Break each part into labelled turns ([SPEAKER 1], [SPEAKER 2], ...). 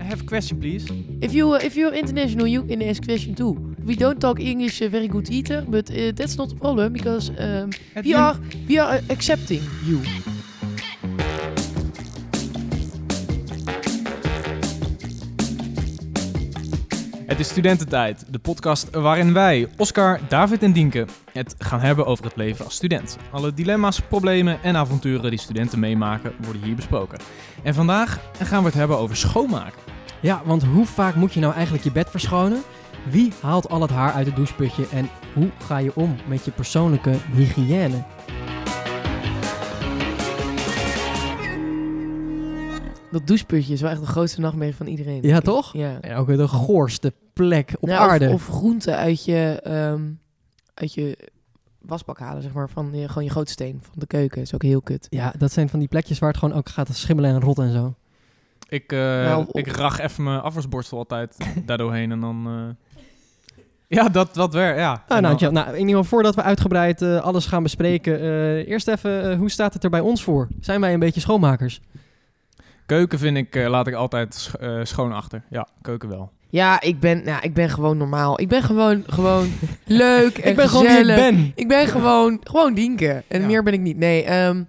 [SPEAKER 1] have a question, please.
[SPEAKER 2] If you uh, if you're international, you can ask question too. We don't talk English uh, very good either, but uh, that's not a problem because um,
[SPEAKER 1] Have
[SPEAKER 2] we
[SPEAKER 1] you-
[SPEAKER 2] are we are uh, accepting you.
[SPEAKER 1] Het is Studententijd, de podcast waarin wij, Oscar, David en Dienke, het gaan hebben over het leven als student. Alle dilemma's, problemen en avonturen die studenten meemaken worden hier besproken. En vandaag gaan we het hebben over schoonmaken.
[SPEAKER 3] Ja, want hoe vaak moet je nou eigenlijk je bed verschonen? Wie haalt al het haar uit het doucheputje en hoe ga je om met je persoonlijke hygiëne?
[SPEAKER 2] Dat doucheputje is wel echt de grootste nachtmerrie van iedereen.
[SPEAKER 3] Ja, toch?
[SPEAKER 2] Ja.
[SPEAKER 3] En ook de goorste plek op
[SPEAKER 2] Nou, of-
[SPEAKER 3] aarde.
[SPEAKER 2] Of, groenten uit je, ehm, uit je wasbak halen, zeg maar. Van je, gewoon je gootsteen van de keuken. is ook heel kut.
[SPEAKER 3] Ja, dat zijn van die plekjes waar het gewoon ook gaat schimmelen en rotten en zo.
[SPEAKER 1] Ik, eh,
[SPEAKER 2] Nou, op-
[SPEAKER 1] ik rag even mijn afwasborstel altijd daardoorheen en dan... eh, Ja, dat, dat weer, ja.
[SPEAKER 3] Nou,
[SPEAKER 1] En dan-
[SPEAKER 3] nou, Jan, nou, in ieder geval voordat we uitgebreid eh, alles gaan bespreken, eh, eerst even, eh, hoe staat het er bij ons voor? Zijn wij een beetje schoonmakers?
[SPEAKER 1] Keuken vind ik, eh, laat ik altijd sch- eh, schoon achter. Ja, keuken wel.
[SPEAKER 2] Ja, ik ben, nou, ik ben gewoon normaal. Ik ben gewoon, gewoon leuk en
[SPEAKER 3] ik ben gewoon wie
[SPEAKER 2] gezellig.
[SPEAKER 3] ik ben.
[SPEAKER 2] Ik ben gewoon, gewoon Dienke. En
[SPEAKER 1] Ja.
[SPEAKER 2] meer ben ik niet. Nee, ehm,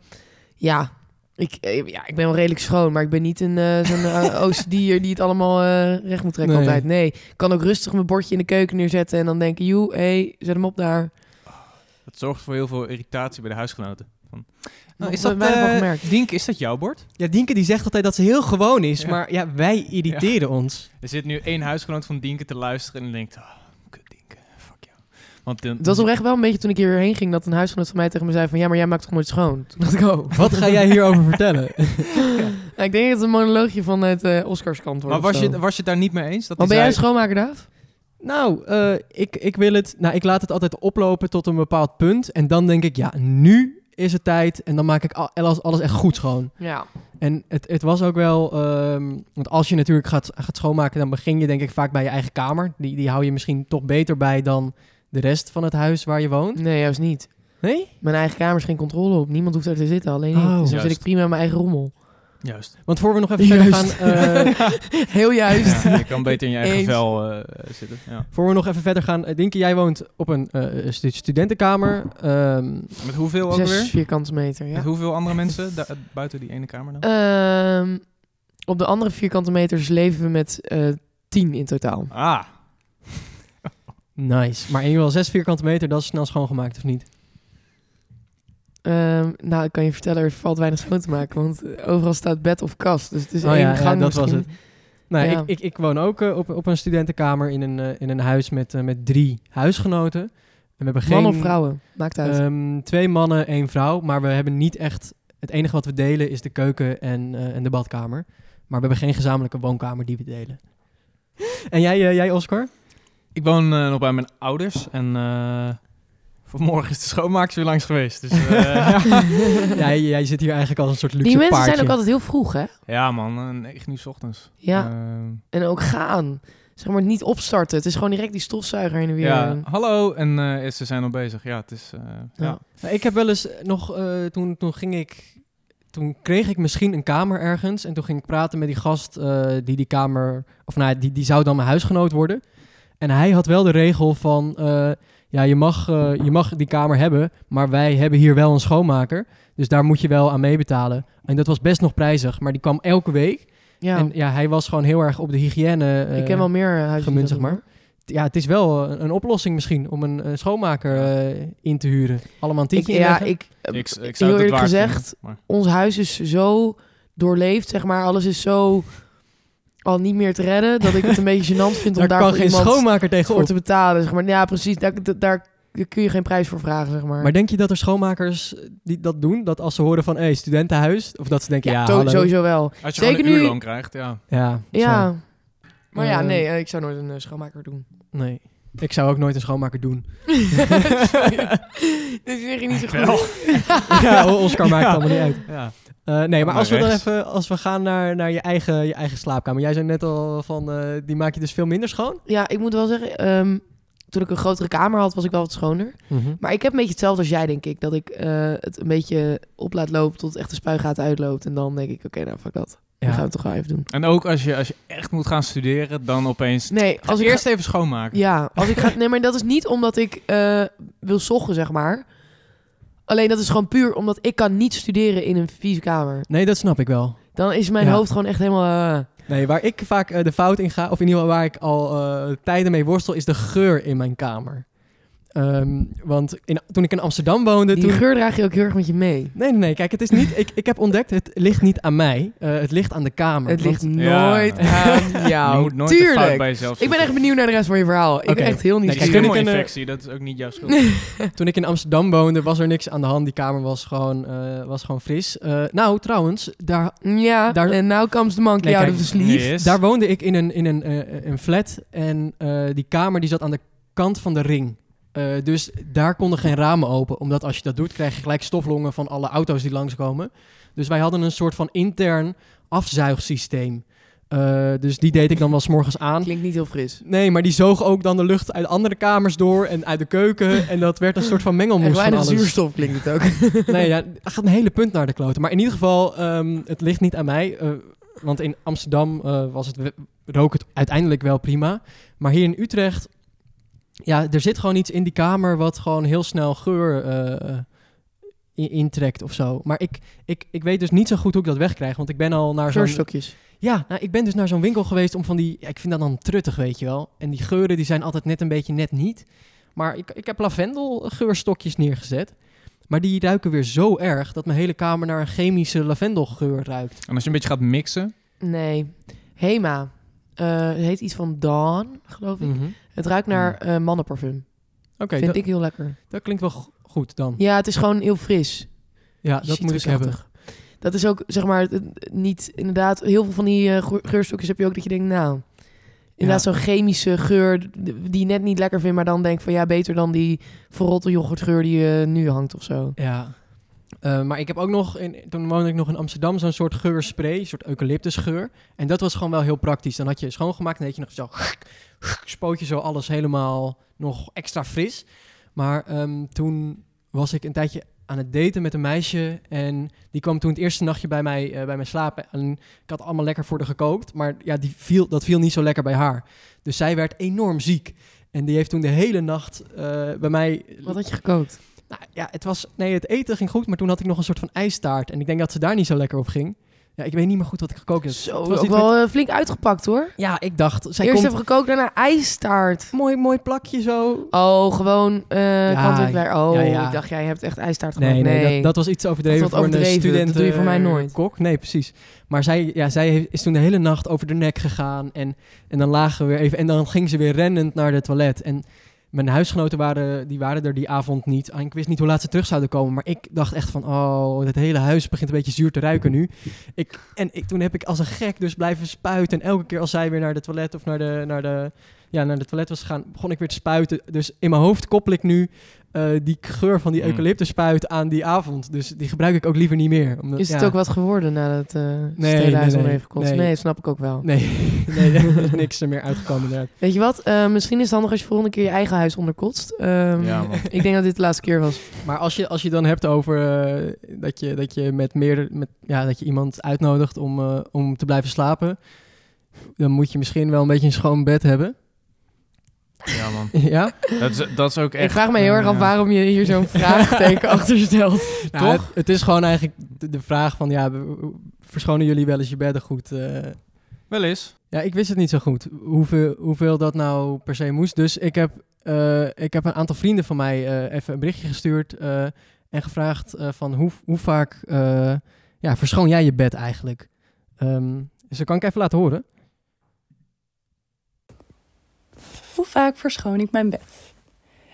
[SPEAKER 2] ja. Ik, eh, ja, ik ben wel redelijk schoon, maar ik ben niet een eh, zo'n eh, OCD'er die het allemaal eh, recht moet trekken
[SPEAKER 3] Nee.
[SPEAKER 2] altijd. Nee, ik kan ook rustig mijn bordje in de keuken neerzetten en dan denken, joe, hé, hey, zet hem op daar.
[SPEAKER 1] Dat zorgt voor heel veel irritatie bij de huisgenoten. Van,
[SPEAKER 2] Nog weinig van gemerkt.
[SPEAKER 1] eh, Dienke, is dat jouw bord?
[SPEAKER 3] Ja, Dienke die zegt altijd dat ze heel gewoon is,
[SPEAKER 1] Ja.
[SPEAKER 3] maar ja, wij irriteren ons.
[SPEAKER 1] Er zit nu één huisgenoot van Dienke te luisteren en denkt, oh, kut Dienke, fuck jou. Want dan-
[SPEAKER 2] Het was oprecht wel een beetje toen ik hierheen ging dat een huisgenoot van mij tegen me zei van, ja, maar jij maakt toch nooit schoon? Toen dacht ik, oh.
[SPEAKER 3] Wat ga jij hierover vertellen?
[SPEAKER 2] Ja, ik denk dat het een monoloogje vanuit eh Oscars kant wordt.
[SPEAKER 1] Maar was
[SPEAKER 2] of
[SPEAKER 1] je,
[SPEAKER 2] zo.
[SPEAKER 1] was je het daar niet mee eens? Dat
[SPEAKER 2] Want ben
[SPEAKER 1] hij
[SPEAKER 2] jij een
[SPEAKER 1] zei-
[SPEAKER 2] schoonmaker, Daaf?
[SPEAKER 3] Nou, eh, ik, ik wil het. Nou, ik laat het altijd oplopen tot een bepaald punt. En dan denk ik, ja, nu is het tijd. En dan maak ik al- alles, alles echt goed schoon.
[SPEAKER 2] Ja.
[SPEAKER 3] En het, het was ook wel. ehm, want als je natuurlijk gaat, gaat schoonmaken, dan begin je denk ik vaak bij je eigen kamer. Die, die hou je misschien toch beter bij dan de rest van het huis waar je woont.
[SPEAKER 2] Nee, juist niet.
[SPEAKER 3] Nee?
[SPEAKER 2] Mijn eigen kamer is geen controle op. Niemand hoeft er te zitten, alleen ik.
[SPEAKER 3] Oh.
[SPEAKER 2] dus dan
[SPEAKER 1] Juist.
[SPEAKER 2] zit ik prima in mijn eigen rommel.
[SPEAKER 1] Juist.
[SPEAKER 3] Want voor we nog even verder gaan.
[SPEAKER 2] Juist.
[SPEAKER 3] eh,
[SPEAKER 2] Heel juist.
[SPEAKER 1] Ja, je kan beter in je eigen
[SPEAKER 2] Eens.
[SPEAKER 1] vel eh, zitten. Ja.
[SPEAKER 3] voor we nog even verder gaan. eh, Dinke, jij woont op een eh, stu- studentenkamer. Ehm,
[SPEAKER 1] Met hoeveel ook
[SPEAKER 2] Zes
[SPEAKER 1] weer?
[SPEAKER 2] vierkante meter, ja.
[SPEAKER 1] Met hoeveel andere mensen daar- buiten die ene kamer dan?
[SPEAKER 2] Ehm, op de andere vierkante meters leven we met eh, tien in totaal.
[SPEAKER 1] Ah,
[SPEAKER 3] nice. Maar in ieder geval zes vierkante meter, dat is snel schoongemaakt, of niet?
[SPEAKER 2] Ehm, nou, ik kan je vertellen, er valt weinig schoon te maken, want eh, overal staat bed of kast. Dus het is
[SPEAKER 3] Oh
[SPEAKER 2] één
[SPEAKER 3] ja, ja,
[SPEAKER 2] gang
[SPEAKER 3] dat was
[SPEAKER 2] misschien.
[SPEAKER 3] het. Nou,
[SPEAKER 2] Ja.
[SPEAKER 3] ik, ik, ik woon ook eh, op, op een studentenkamer in een, eh, in een huis met, eh, met drie huisgenoten. En we hebben geen,
[SPEAKER 2] Mannen of vrouwen, maakt uit.
[SPEAKER 3] ehm, twee mannen, één vrouw. Maar we hebben niet echt... Het enige wat we delen is de keuken en, eh, en de badkamer. Maar we hebben geen gezamenlijke woonkamer die we delen. En jij, eh, jij Oscar?
[SPEAKER 1] ik woon eh, nog bij mijn ouders en eh, vanmorgen is de schoonmaakster weer langs geweest. Dus, eh, ja.
[SPEAKER 3] jij, jij zit hier eigenlijk als een soort luxe
[SPEAKER 2] Die mensen
[SPEAKER 3] paardje.
[SPEAKER 2] zijn ook altijd heel vroeg, hè?
[SPEAKER 1] ja man, eh, 9 uur 's ochtends.
[SPEAKER 2] Ja,
[SPEAKER 1] Ehm,
[SPEAKER 2] en ook gaan. Zeg maar niet opstarten. Het is gewoon direct die stofzuiger heen en weer.
[SPEAKER 1] Ja, hallo. En eh, ze zijn al bezig. Ja, het is... eh, ja.
[SPEAKER 3] Nou, ik heb wel eens nog, eh, toen, toen ging ik, toen kreeg ik misschien een kamer ergens en toen ging ik praten met die gast eh, die die kamer, of nou, ja, die, die zou dan mijn huisgenoot worden. En hij had wel de regel van, eh, ja, je mag, eh, je mag die kamer hebben, maar wij hebben hier wel een schoonmaker, dus daar moet je wel aan meebetalen. En dat was best nog prijzig, maar die kwam elke week.
[SPEAKER 2] Ja,
[SPEAKER 3] En ja, hij was gewoon heel erg op de hygiëne. eh,
[SPEAKER 2] ik ken wel meer eh, huizen. die
[SPEAKER 3] gemunt,
[SPEAKER 2] dat
[SPEAKER 3] zeg
[SPEAKER 2] doen,
[SPEAKER 3] maar. Ja, het is wel eh, een, een oplossing misschien om een, eh, schoonmaker eh, in te huren. Allemaal een
[SPEAKER 2] hoor. Ik,
[SPEAKER 3] tientje
[SPEAKER 2] ja,
[SPEAKER 3] inleggen.
[SPEAKER 2] ik,
[SPEAKER 1] Ik,
[SPEAKER 2] eh,
[SPEAKER 1] ik zou
[SPEAKER 2] heel
[SPEAKER 1] het het
[SPEAKER 2] eerlijk
[SPEAKER 1] waard
[SPEAKER 2] gezegd,
[SPEAKER 1] vinden, maar-
[SPEAKER 2] ons huis is zo doorleefd, zeg maar. Alles is zo al niet meer te redden, dat ik het een beetje gênant vind om
[SPEAKER 3] daar
[SPEAKER 2] daar
[SPEAKER 3] kan
[SPEAKER 2] voor
[SPEAKER 3] geen
[SPEAKER 2] iemand
[SPEAKER 3] schoonmaker
[SPEAKER 2] voor
[SPEAKER 3] tegenop.
[SPEAKER 2] te betalen, zeg maar. Ja, precies. Daar, d- daar kun je geen prijs voor vragen, zeg maar.
[SPEAKER 3] Maar denk je dat er schoonmakers eh, die dat doen, dat als ze horen van, hé, studentenhuis, of dat ze denken, ja,
[SPEAKER 2] to-
[SPEAKER 3] hallo.
[SPEAKER 2] sowieso wel.
[SPEAKER 1] Als je
[SPEAKER 2] Zeker
[SPEAKER 1] gewoon een
[SPEAKER 2] nu-
[SPEAKER 1] uurloon krijgt, ja.
[SPEAKER 3] Ja,
[SPEAKER 2] Ja.
[SPEAKER 3] zo.
[SPEAKER 2] Maar ja,
[SPEAKER 3] Eh,
[SPEAKER 2] nee, eh, ik zou nooit een eh, schoonmaker doen.
[SPEAKER 3] Nee. Ik zou ook nooit een schoonmaker doen.
[SPEAKER 2] Sorry. Dit is weer niet zo
[SPEAKER 1] Wel.
[SPEAKER 2] goed.
[SPEAKER 3] ja, Oscar maakt het allemaal niet uit.
[SPEAKER 1] ja.
[SPEAKER 3] Eh, nee, maar
[SPEAKER 1] Maar
[SPEAKER 3] als we dan
[SPEAKER 1] rechts.
[SPEAKER 3] even, als we gaan naar, naar je, eigen, je eigen slaapkamer. Jij zei net al van, eh, die maak je dus veel minder schoon.
[SPEAKER 2] Ja, ik moet wel zeggen, ehm, toen ik een grotere kamer had, was ik wel wat schoner. Maar ik heb een beetje hetzelfde als jij, denk ik. Dat ik eh, het een beetje op laat lopen tot echt de spuigaten uitloopt. En dan denk ik, oké, nou, fuck dat. Dat gaan
[SPEAKER 3] Ja.
[SPEAKER 2] we toch wel even doen. Dus
[SPEAKER 1] En ook als je, als je echt moet gaan studeren, dan opeens...
[SPEAKER 2] Nee, als
[SPEAKER 1] Als
[SPEAKER 2] ik
[SPEAKER 1] eerst even schoonmaken.
[SPEAKER 2] Ja, als ik ga, nee, maar dat is niet omdat ik eh, wil zoggen, zeg maar. Alleen dat is gewoon puur omdat ik kan niet studeren in een vieze kamer.
[SPEAKER 3] Nee, dat snap ik wel.
[SPEAKER 2] Dan is mijn
[SPEAKER 3] Ja.
[SPEAKER 2] hoofd gewoon echt helemaal... eh,
[SPEAKER 3] Nee, waar ik vaak eh, de fout in ga, of in ieder geval waar ik al eh, tijden mee worstel, is de geur in mijn kamer. Ehm, want in, toen ik in Amsterdam woonde,
[SPEAKER 2] die
[SPEAKER 3] toen...
[SPEAKER 2] geur draag je ook heel erg met je mee.
[SPEAKER 3] Nee, nee, nee, kijk, het is niet... ik, ik heb ontdekt, het ligt niet aan mij. eh, het ligt aan de kamer.
[SPEAKER 2] Het ligt
[SPEAKER 3] Want-
[SPEAKER 1] Ja.
[SPEAKER 2] nooit aan jou.
[SPEAKER 1] Je moet nooit de fout
[SPEAKER 2] Tuurlijk.
[SPEAKER 1] bij jezelf
[SPEAKER 2] Ik ben echt benieuwd naar de rest van je verhaal. Ik
[SPEAKER 3] Oké.
[SPEAKER 2] ben echt heel
[SPEAKER 1] Nee,
[SPEAKER 2] niet
[SPEAKER 1] kijk,
[SPEAKER 3] kijk,
[SPEAKER 2] serieus.
[SPEAKER 3] kun ik een,
[SPEAKER 1] infectie, dat is ook niet jouw schuld.
[SPEAKER 3] Toen ik in Amsterdam woonde, was er niks aan de hand. Die kamer was gewoon, eh, was gewoon fris. Eh, nou, trouwens, daar,
[SPEAKER 2] Ja,
[SPEAKER 3] Daar-
[SPEAKER 2] en nou comes the monkey
[SPEAKER 3] Nee,
[SPEAKER 2] out
[SPEAKER 3] kijk,
[SPEAKER 2] of the sleeve.
[SPEAKER 1] Yes.
[SPEAKER 3] daar woonde ik in een, in een, eh, een flat. En eh, die kamer die zat aan de kant van de ring. Eh, dus daar konden geen ramen open. Omdat als je dat doet, krijg je gelijk stoflongen van alle auto's die langskomen. Dus wij hadden een soort van intern afzuigsysteem. Eh, dus die deed ik dan wel s'morgens aan.
[SPEAKER 2] Klinkt niet heel fris.
[SPEAKER 3] Nee, maar die zoog ook dan de lucht uit andere kamers door en uit de keuken. En dat werd een soort van
[SPEAKER 2] En
[SPEAKER 3] mengelmoes van
[SPEAKER 2] weinig
[SPEAKER 3] alles.
[SPEAKER 2] zuurstof klinkt het ook.
[SPEAKER 3] Nee, ja, er gaat een hele punt naar de kloten. Maar in ieder geval, ehm, het ligt niet aan mij. eh, want in Amsterdam eh, was het, we- rook het uiteindelijk wel prima. Maar hier in Utrecht, ja, er zit gewoon iets in die kamer wat gewoon heel snel geur eh, in- intrekt of zo. Maar ik, ik, ik weet dus niet zo goed hoe ik dat wegkrijg. Want ik ben al naar zo'n...
[SPEAKER 2] Geurstokjes.
[SPEAKER 3] Ja, nou, ik ben dus naar zo'n winkel geweest om van die... Ja, ik vind dat dan truttig, weet je wel. En die geuren die zijn altijd net een beetje net niet. Maar ik, ik heb lavendelgeurstokjes neergezet. Maar die ruiken weer zo erg dat mijn hele kamer naar een chemische lavendelgeur ruikt.
[SPEAKER 1] En als je een beetje gaat mixen,
[SPEAKER 2] Nee. Hema. Eh, het heet iets van Dawn, geloof ik. Het ruikt naar eh, mannenparfum.
[SPEAKER 3] Mhm. Oké,
[SPEAKER 2] Vind
[SPEAKER 3] dat,
[SPEAKER 2] ik heel lekker.
[SPEAKER 3] dat klinkt wel go- goed dan.
[SPEAKER 2] Ja, het is gewoon heel fris.
[SPEAKER 3] Ja, dat moet ik hebben.
[SPEAKER 2] Citrusachtig. Dat is ook, zeg maar, het- het- niet... Inderdaad, heel veel van die eh, geur- geurstokjes heb je ook dat je denkt, nou... Inderdaad, zo'n chemische geur d- die je net niet lekker vindt... maar dan denkt van, ja, beter dan die verrotte yoghurtgeur die eh, nu hangt of zo.
[SPEAKER 3] Ja. Eh, maar ik heb ook nog, in, toen woonde ik nog in Amsterdam, zo'n soort geurspray, een soort eucalyptusgeur. En dat was gewoon wel heel praktisch. Dan had je schoongemaakt en deed je nog zo, spoot je zo alles helemaal nog extra fris. Maar ehm, toen was ik een tijdje aan het daten met een meisje en die kwam toen het eerste nachtje bij mij, eh, bij mij slapen. En ik had allemaal lekker voor haar gekookt, maar ja, die viel, dat viel niet zo lekker bij haar. Dus zij werd enorm ziek. En die heeft toen de hele nacht eh, bij mij
[SPEAKER 2] Wat had je gekookt?
[SPEAKER 3] nou ja, het was. Nee, het eten ging goed, maar toen had ik nog een soort van ijstaart. En ik denk dat ze daar niet zo lekker op ging. Ja, ik weet niet meer goed wat ik gekookt heb.
[SPEAKER 2] Zo,
[SPEAKER 3] Het was
[SPEAKER 2] ook
[SPEAKER 3] iets
[SPEAKER 2] wel eh, flink uitgepakt, hoor.
[SPEAKER 3] met- Ja, ik dacht. Zij
[SPEAKER 2] Eerst
[SPEAKER 3] komt
[SPEAKER 2] even gekookt, daarna ijstaart.
[SPEAKER 3] mooi, mooi plakje zo.
[SPEAKER 2] Oh, gewoon eh
[SPEAKER 3] Ja,
[SPEAKER 2] kant-en-klaar. Oh,
[SPEAKER 3] ja, ja.
[SPEAKER 2] ik dacht, jij hebt echt ijstaart gemaakt.
[SPEAKER 3] Nee,
[SPEAKER 2] Nee,
[SPEAKER 3] nee, Dat, dat was iets overdreven
[SPEAKER 2] Dat
[SPEAKER 3] voor
[SPEAKER 2] was overdreven,
[SPEAKER 3] een
[SPEAKER 2] dat
[SPEAKER 3] student.
[SPEAKER 2] doe je voor mij nooit.
[SPEAKER 3] Kok, nee, precies. Maar zij, ja, zij heeft- is toen de hele nacht over de nek gegaan. En, en dan lagen we weer even. En dan ging ze weer rennend naar de toilet. En mijn huisgenoten waren, die waren er die avond niet. En ik wist niet hoe laat ze terug zouden komen. Maar ik dacht echt van, oh, het hele huis begint een beetje zuur te ruiken nu. Ik, en ik, toen heb ik als een gek dus blijven spuiten. En elke keer als zij weer naar de toilet of naar de, naar de, ja, naar de toilet was gegaan, begon ik weer te spuiten. Dus in mijn hoofd koppel ik nu eh, die geur van die
[SPEAKER 1] Mm.
[SPEAKER 3] eucalyptusspuit aan die avond. Dus die gebruik ik ook liever niet meer. Omdat,
[SPEAKER 2] Is het
[SPEAKER 3] ja,
[SPEAKER 2] ook wat geworden nadat eh nee,
[SPEAKER 3] nee,
[SPEAKER 2] Stella
[SPEAKER 3] nee,
[SPEAKER 2] heeft gekotst?
[SPEAKER 3] nee.
[SPEAKER 2] Nee. dat snap ik ook wel.
[SPEAKER 3] Nee, nee, er is niks er meer uitgekomen. inderdaad.
[SPEAKER 2] Weet je wat? Eh, misschien is het handig als je volgende keer je eigen huis onderkotst. Ehm,
[SPEAKER 1] Ja, man.
[SPEAKER 2] ik denk dat dit de laatste keer was.
[SPEAKER 3] Maar als je, als je dan hebt over eh, dat, je, dat je met meerdere, met, ja, dat je iemand uitnodigt om, eh, om te blijven slapen, dan moet je misschien wel een beetje een schoon bed hebben.
[SPEAKER 1] ja man.
[SPEAKER 3] ja,
[SPEAKER 1] Dat is, dat is ook echt...
[SPEAKER 2] ik vraag me heel
[SPEAKER 1] eh,
[SPEAKER 2] erg af
[SPEAKER 1] ja.
[SPEAKER 2] waarom je hier zo'n vraagteken achter stelt.
[SPEAKER 3] Nou,
[SPEAKER 1] Toch?
[SPEAKER 3] Het, het is gewoon eigenlijk de, de vraag van ja, we- verschonen jullie wel eens je bedden goed? eh?
[SPEAKER 1] Wel eens.
[SPEAKER 3] ja, ik wist het niet zo goed hoeveel, hoeveel dat nou per se moest. Dus ik heb, eh, ik heb een aantal vrienden van mij eh, even een berichtje gestuurd eh, en gevraagd eh, van hoe, hoe vaak eh, ja, verschoon jij je bed eigenlijk? Ehm, dus dat kan ik even laten horen.
[SPEAKER 4] Hoe vaak verschoon ik mijn bed?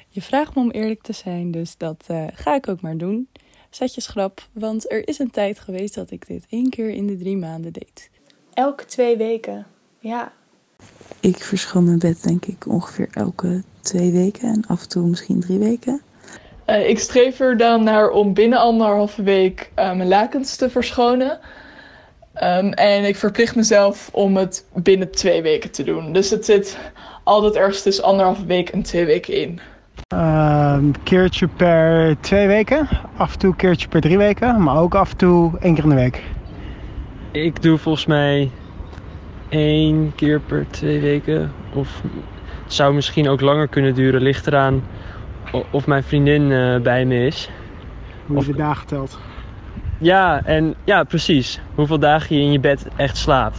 [SPEAKER 4] Je vraagt me om eerlijk te zijn, dus dat eh, ga ik ook maar doen. Zet je schrap, want er is een tijd geweest dat ik dit één keer in de drie maanden deed.
[SPEAKER 5] Elke twee weken. Ja.
[SPEAKER 6] Ik verschoon mijn bed denk ik ongeveer elke twee weken en af en toe misschien drie weken.
[SPEAKER 7] Eh, ik streef er dan naar om binnen anderhalve week eh, mijn lakens te verschonen. Ehm, en ik verplicht mezelf om het binnen twee weken te doen. Dus het zit altijd ergens tussen anderhalve week en twee weken in.
[SPEAKER 8] Ehm, keertje per twee weken. Af en toe keertje per drie weken. Maar ook af en toe één keer in de week.
[SPEAKER 9] Ik doe volgens mij één keer per twee weken. Of het zou misschien ook langer kunnen duren. Ligt eraan o- of mijn vriendin eh, bij me is.
[SPEAKER 8] Hoe
[SPEAKER 9] Of-
[SPEAKER 8] je de dagen telt.
[SPEAKER 9] Ja, en ja, precies. Hoeveel dagen je in je bed echt slaapt.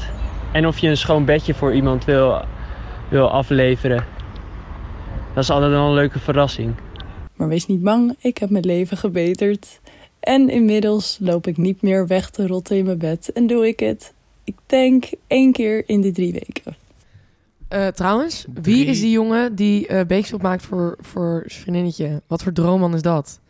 [SPEAKER 9] En of je een schoon bedje voor iemand wil, wil afleveren. Dat is altijd wel een leuke verrassing.
[SPEAKER 4] Maar wees niet bang, ik heb mijn leven gebeterd. En inmiddels loop ik niet meer weg te rotten in mijn bed en doe ik het, ik denk, één keer in de drie weken.
[SPEAKER 2] Eh, trouwens, wie
[SPEAKER 1] Drie.
[SPEAKER 2] is die jongen die eh beekstop maakt voor, voor zijn vriendinnetje? Wat voor droomman is dat?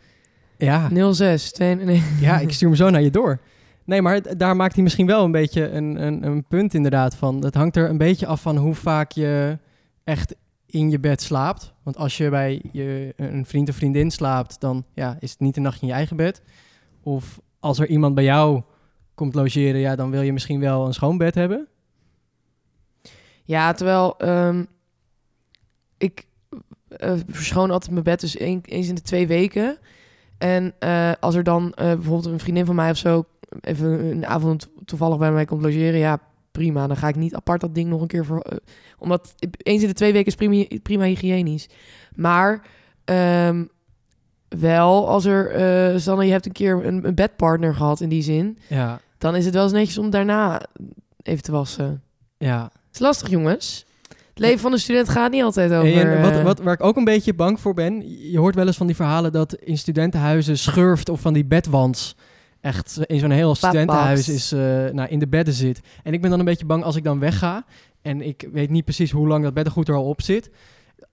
[SPEAKER 3] Ja,
[SPEAKER 2] 06, 2, nee.
[SPEAKER 3] ja, ik stuur hem zo naar je door. Nee, maar d- daar maakt hij misschien wel een beetje een, een, een punt inderdaad van. Het hangt er een beetje af van hoe vaak je echt in je bed slaapt. Want als je bij je, een vriend of vriendin slaapt, dan ja, is het niet een nachtje in je eigen bed. Of als er iemand bij jou komt logeren, ja, dan wil je misschien wel een schoon bed hebben.
[SPEAKER 2] Ja, terwijl ehm, ik eh, verschoon altijd mijn bed dus één- eens in de twee weken. En eh, als er dan eh, bijvoorbeeld een vriendin van mij of zo even een avond toevallig bij mij komt logeren, ja prima. Dan ga ik niet apart dat ding nog een keer voor. eh, omdat eens in de twee weken is prima, prima hygiënisch. Maar ehm, wel als er, eh Sanne, je hebt een keer een, een bedpartner gehad in die zin,
[SPEAKER 3] Ja,
[SPEAKER 2] dan is het wel eens netjes om daarna even te wassen.
[SPEAKER 3] ja.
[SPEAKER 2] Het is lastig, jongens. Het leven van een student gaat niet altijd over...
[SPEAKER 3] en wat,
[SPEAKER 2] eh,
[SPEAKER 3] wat, waar ik ook een beetje bang voor ben, je hoort wel eens van die verhalen dat in studentenhuizen schurft of van die bedwans echt in zo'n heel studentenhuis is, eh, nou, in de bedden zit. En ik ben dan een beetje bang als ik dan wegga en ik weet niet precies hoe lang dat beddengoed er al op zit,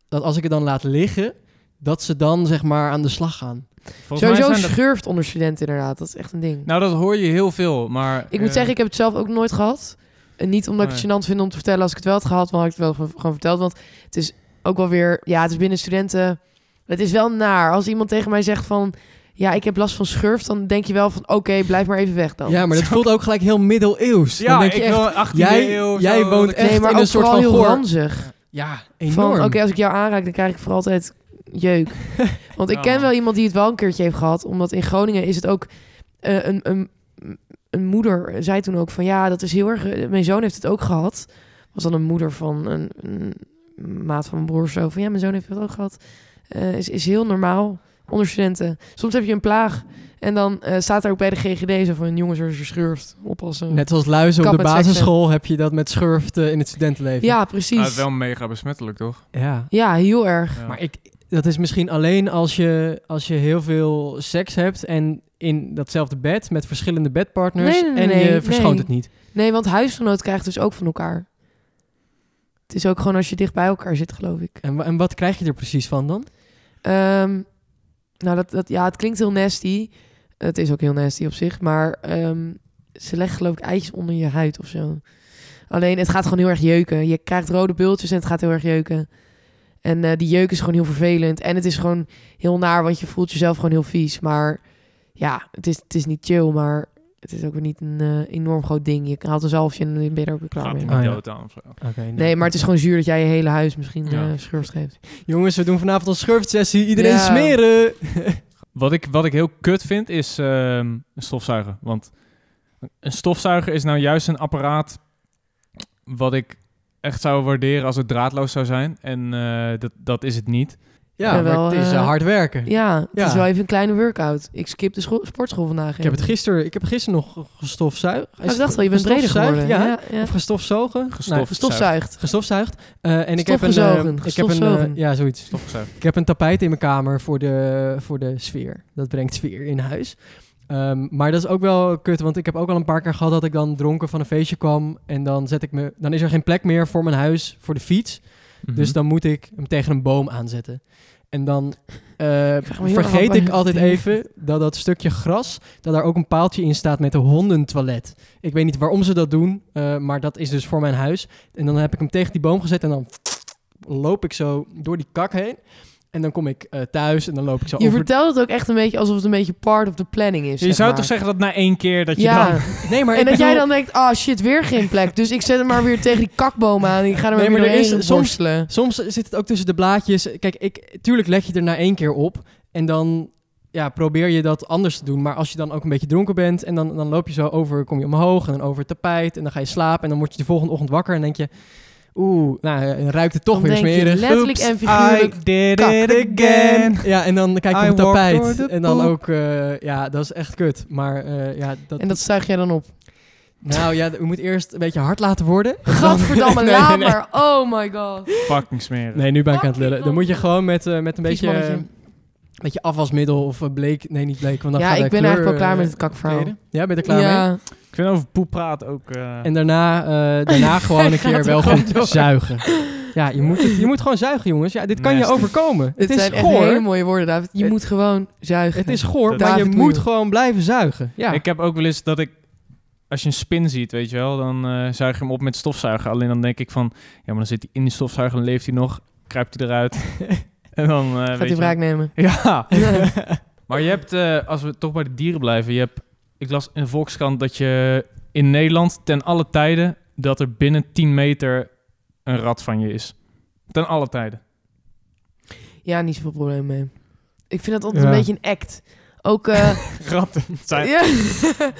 [SPEAKER 3] dat als ik het dan laat liggen, dat ze dan zeg maar aan de slag gaan.
[SPEAKER 1] Volgens mij
[SPEAKER 2] Sowieso
[SPEAKER 1] zijn dat-
[SPEAKER 2] schurft onder studenten inderdaad. Dat is echt een ding.
[SPEAKER 1] Nou, dat hoor je heel veel, maar...
[SPEAKER 2] ik moet
[SPEAKER 1] eh,
[SPEAKER 2] zeggen, ik heb het zelf ook nooit gehad. En niet omdat ik het gênant vind om te vertellen. Als ik het wel had gehad, dan had ik het wel gewoon- gewoon verteld. Want het is ook wel weer... Ja, het is binnen studenten... Het is wel naar. Als iemand tegen mij zegt van... Ja, ik heb last van schurft. Dan denk je wel van... Oké, blijf maar even weg dan.
[SPEAKER 3] Ja, maar dat voelt ook gelijk heel middeleeuws.
[SPEAKER 1] Ja,
[SPEAKER 3] dan denk je
[SPEAKER 1] ik
[SPEAKER 3] echt,
[SPEAKER 1] wil 18e
[SPEAKER 3] jij-
[SPEAKER 1] eeuw of
[SPEAKER 3] jij
[SPEAKER 1] zo,
[SPEAKER 3] woont
[SPEAKER 1] dat ik-
[SPEAKER 3] echt
[SPEAKER 2] nee, maar
[SPEAKER 3] in
[SPEAKER 2] ook
[SPEAKER 3] een soort
[SPEAKER 2] vooral
[SPEAKER 3] van
[SPEAKER 2] heel
[SPEAKER 3] goor-
[SPEAKER 2] ranzig.
[SPEAKER 3] ja,
[SPEAKER 2] Van,
[SPEAKER 3] enorm.
[SPEAKER 2] Oké, als ik jou aanraak, dan krijg ik voor altijd jeuk. Want ik
[SPEAKER 1] Ja,
[SPEAKER 2] ken
[SPEAKER 1] man.
[SPEAKER 2] wel iemand die het wel een keertje heeft gehad. Omdat in Groningen is het ook eh, een, een, een moeder zei toen ook van ja, dat is heel erg. eh, Mijn zoon heeft het ook gehad. Was dan een moeder van een, een maat van mijn broer of zo. Van ja, mijn zoon heeft het ook gehad. Eh, is, is heel normaal onder studenten. Soms heb je een plaag en dan eh, staat er ook bij de GGD zo van jongens, er is verschurft. Oppassen.
[SPEAKER 3] Net zoals luizen op
[SPEAKER 2] Kap
[SPEAKER 3] de
[SPEAKER 2] met seksen.
[SPEAKER 3] basisschool heb je dat met schurft eh, in het studentenleven.
[SPEAKER 2] ja,
[SPEAKER 1] Ah,
[SPEAKER 2] precies.
[SPEAKER 1] wel mega besmettelijk, toch?
[SPEAKER 3] ja.
[SPEAKER 2] Ja, heel erg.
[SPEAKER 1] Ja.
[SPEAKER 3] Maar ik, dat is misschien alleen als je, als je heel veel seks hebt en in datzelfde bed met verschillende bedpartners
[SPEAKER 2] Nee, nee, nee,
[SPEAKER 3] en je
[SPEAKER 2] nee,
[SPEAKER 3] verschoont
[SPEAKER 2] nee.
[SPEAKER 3] het niet.
[SPEAKER 2] Nee, want huisgenoot krijgt dus ook van elkaar. Het is ook gewoon als je dicht bij elkaar zit, geloof ik.
[SPEAKER 3] En, wa- en wat krijg je er precies van dan?
[SPEAKER 2] Ehm, nou, dat, dat, ja, het klinkt heel nasty. Het is ook heel nasty op zich. Maar ehm, ze leggen geloof ik eitjes onder je huid of zo. Alleen, het gaat gewoon heel erg jeuken. Je krijgt rode bultjes en het gaat heel erg jeuken. En eh, die jeuk is gewoon heel vervelend. En het is gewoon heel naar, want je voelt jezelf gewoon heel vies. Maar ja, het is, het is niet chill, maar het is ook weer niet een eh, enorm groot ding. Je haalt een zalfje en dan ben je er ook weer klaar
[SPEAKER 1] Gaat
[SPEAKER 2] mee.
[SPEAKER 1] niet
[SPEAKER 3] Ah, ja.
[SPEAKER 1] dood aan of zo.
[SPEAKER 2] Nee, maar het is gewoon zuur dat jij je hele huis misschien
[SPEAKER 1] Ja.
[SPEAKER 2] eh, schurft geeft.
[SPEAKER 3] Jongens, we doen vanavond een schurftsessie. Iedereen
[SPEAKER 2] Ja.
[SPEAKER 3] smeren!
[SPEAKER 1] Wat ik, wat ik heel kut vind, is ehm, een stofzuiger. Want een stofzuiger is nou juist een apparaat wat ik echt zou waarderen als het draadloos zou zijn. En eh, dat, dat is het niet.
[SPEAKER 3] Ja,
[SPEAKER 2] Ja, wel,
[SPEAKER 3] maar het is eh,
[SPEAKER 2] eh,
[SPEAKER 3] hard werken.
[SPEAKER 2] Ja, het
[SPEAKER 3] Ja.
[SPEAKER 2] is wel even een kleine workout. Ik skip de scho- sportschool vandaag.
[SPEAKER 3] Ik heb het gisteren, ik heb gisteren nog gestofzuigd.
[SPEAKER 2] Oh, ik dacht al, je bent breder geworden.
[SPEAKER 3] Ja,
[SPEAKER 2] ja, ja.
[SPEAKER 3] of gestofzogen. Nou,
[SPEAKER 1] Gestof-
[SPEAKER 2] Stofzuigt.
[SPEAKER 3] gestofzuigd. Eh, en ik heb een, eh,
[SPEAKER 2] Stofgezogen,
[SPEAKER 3] ik heb een eh,
[SPEAKER 2] gestofzogen.
[SPEAKER 3] ja, zoiets.
[SPEAKER 1] Stofzuiger.
[SPEAKER 3] Ik heb een tapijt in mijn kamer voor de, voor de sfeer. Dat brengt sfeer in huis. Ehm, maar dat is ook wel kut, want ik heb ook al een paar keer gehad dat ik dan dronken van een feestje kwam. En dan, zet ik me, dan is er geen plek meer voor mijn huis, voor de fiets.
[SPEAKER 1] Mhm.
[SPEAKER 3] Dus dan moet ik hem tegen een boom aanzetten. En dan eh,
[SPEAKER 2] me heel erg
[SPEAKER 3] vergeet
[SPEAKER 2] af
[SPEAKER 3] ik
[SPEAKER 2] waar
[SPEAKER 3] altijd
[SPEAKER 2] het ding
[SPEAKER 3] even dat dat stukje gras, dat daar ook een paaltje in staat met de hondentoilet. Ik weet niet waarom ze dat doen, eh, maar dat is dus voor mijn huis. En dan heb ik hem tegen die boom gezet en dan loop ik zo door die kak heen. En dan kom ik eh, thuis en dan loop ik zo
[SPEAKER 2] Je
[SPEAKER 3] over...
[SPEAKER 2] vertelt het ook echt een beetje alsof het een beetje part of the planning is.
[SPEAKER 1] Je zou toch zeggen dat na één keer dat je
[SPEAKER 2] ja,
[SPEAKER 1] dan...
[SPEAKER 3] Nee, maar
[SPEAKER 2] en
[SPEAKER 3] ik
[SPEAKER 2] dat jij
[SPEAKER 3] bedoel-
[SPEAKER 2] dan denkt, ah shit, weer geen plek. Dus ik zet hem maar weer tegen die kakboom aan en ik ga er maar
[SPEAKER 3] Nee,
[SPEAKER 2] weer
[SPEAKER 3] maar er is
[SPEAKER 2] doorheen
[SPEAKER 3] soms-
[SPEAKER 2] worstelen.
[SPEAKER 3] Soms zit het ook tussen de blaadjes. Kijk, ik, tuurlijk leg je er na één keer op. En dan ja, probeer je dat anders te doen. Maar als je dan ook een beetje dronken bent en dan, dan loop je zo over, kom je omhoog en dan over het tapijt en dan ga je slapen en dan word je de volgende ochtend wakker en denk je, oeh, nou eh, ruikt het toch
[SPEAKER 2] Dan
[SPEAKER 3] weer
[SPEAKER 2] denk je
[SPEAKER 3] smerig.
[SPEAKER 2] letterlijk en figuurlijk.
[SPEAKER 1] I did
[SPEAKER 3] Kak.
[SPEAKER 1] it again.
[SPEAKER 3] Ja, en dan kijk je
[SPEAKER 1] I
[SPEAKER 3] op het
[SPEAKER 1] walked over
[SPEAKER 3] tapijt
[SPEAKER 1] the
[SPEAKER 3] en dan
[SPEAKER 1] poop.
[SPEAKER 3] ook, eh, ja, dat is echt kut. Maar eh, ja, dat,
[SPEAKER 2] En dat zuig jij dan op.
[SPEAKER 3] nou ja, we moeten eerst een beetje hard laten worden.
[SPEAKER 2] Gadverdamme,
[SPEAKER 3] Nee, nee,
[SPEAKER 2] laat
[SPEAKER 3] nee.
[SPEAKER 2] maar. Oh my god.
[SPEAKER 1] Fucking smerig.
[SPEAKER 3] Nee, nu ben ik aan het lullen. Dan moet je gewoon met, eh, met een
[SPEAKER 2] Vies
[SPEAKER 3] beetje, eh,
[SPEAKER 2] mannetje.
[SPEAKER 3] beetje afwasmiddel of eh, bleek, nee niet bleek, want dan
[SPEAKER 2] Ja,
[SPEAKER 3] gaat
[SPEAKER 2] ik
[SPEAKER 3] de
[SPEAKER 2] ben
[SPEAKER 3] kleur,
[SPEAKER 2] eigenlijk wel klaar
[SPEAKER 3] eh,
[SPEAKER 2] met het kakverhaal.
[SPEAKER 3] kleden. Ja, ben je er klaar mee?
[SPEAKER 2] ja.
[SPEAKER 1] Ik vind over poep praten ook... eh,
[SPEAKER 3] En daarna, eh, daarna gewoon een
[SPEAKER 2] Hij
[SPEAKER 3] keer
[SPEAKER 2] gaat
[SPEAKER 3] wel
[SPEAKER 2] er gewoon
[SPEAKER 3] goed
[SPEAKER 2] door.
[SPEAKER 3] zuigen. Ja, je moet, het, je moet gewoon zuigen, jongens. Ja, dit kan
[SPEAKER 1] Nasty.
[SPEAKER 3] je overkomen.
[SPEAKER 2] Dit
[SPEAKER 3] het is
[SPEAKER 2] zijn echt hele
[SPEAKER 3] goor.
[SPEAKER 2] mooie woorden, David. Je
[SPEAKER 3] Het-
[SPEAKER 2] moet gewoon zuigen.
[SPEAKER 3] Het is goor,
[SPEAKER 1] Dat-
[SPEAKER 3] maar je
[SPEAKER 2] David,
[SPEAKER 3] moet
[SPEAKER 2] doe.
[SPEAKER 3] gewoon blijven zuigen. Ja.
[SPEAKER 1] Ik heb ook wel eens dat ik... Als je een spin ziet, weet je wel, dan eh, zuig je hem op met stofzuiger. Alleen dan denk ik van... Ja, maar dan zit hij in die stofzuiger en leeft hij nog. Kruipt hij eruit. en dan... eh, weet
[SPEAKER 2] Gaat hij
[SPEAKER 1] je wel.
[SPEAKER 2] wraak nemen.
[SPEAKER 1] Ja. maar je hebt, eh, als we toch bij de dieren blijven, je hebt, ik las in de Volkskrant dat je in Nederland ten alle tijden dat er binnen 10 meter een rat van je is. Ten alle tijden.
[SPEAKER 2] Ja, niet zoveel probleem mee. Ik vind dat altijd
[SPEAKER 3] Ja.
[SPEAKER 2] een beetje een act. Ook... eh,
[SPEAKER 1] Ratten. Dat zijn,
[SPEAKER 2] ja.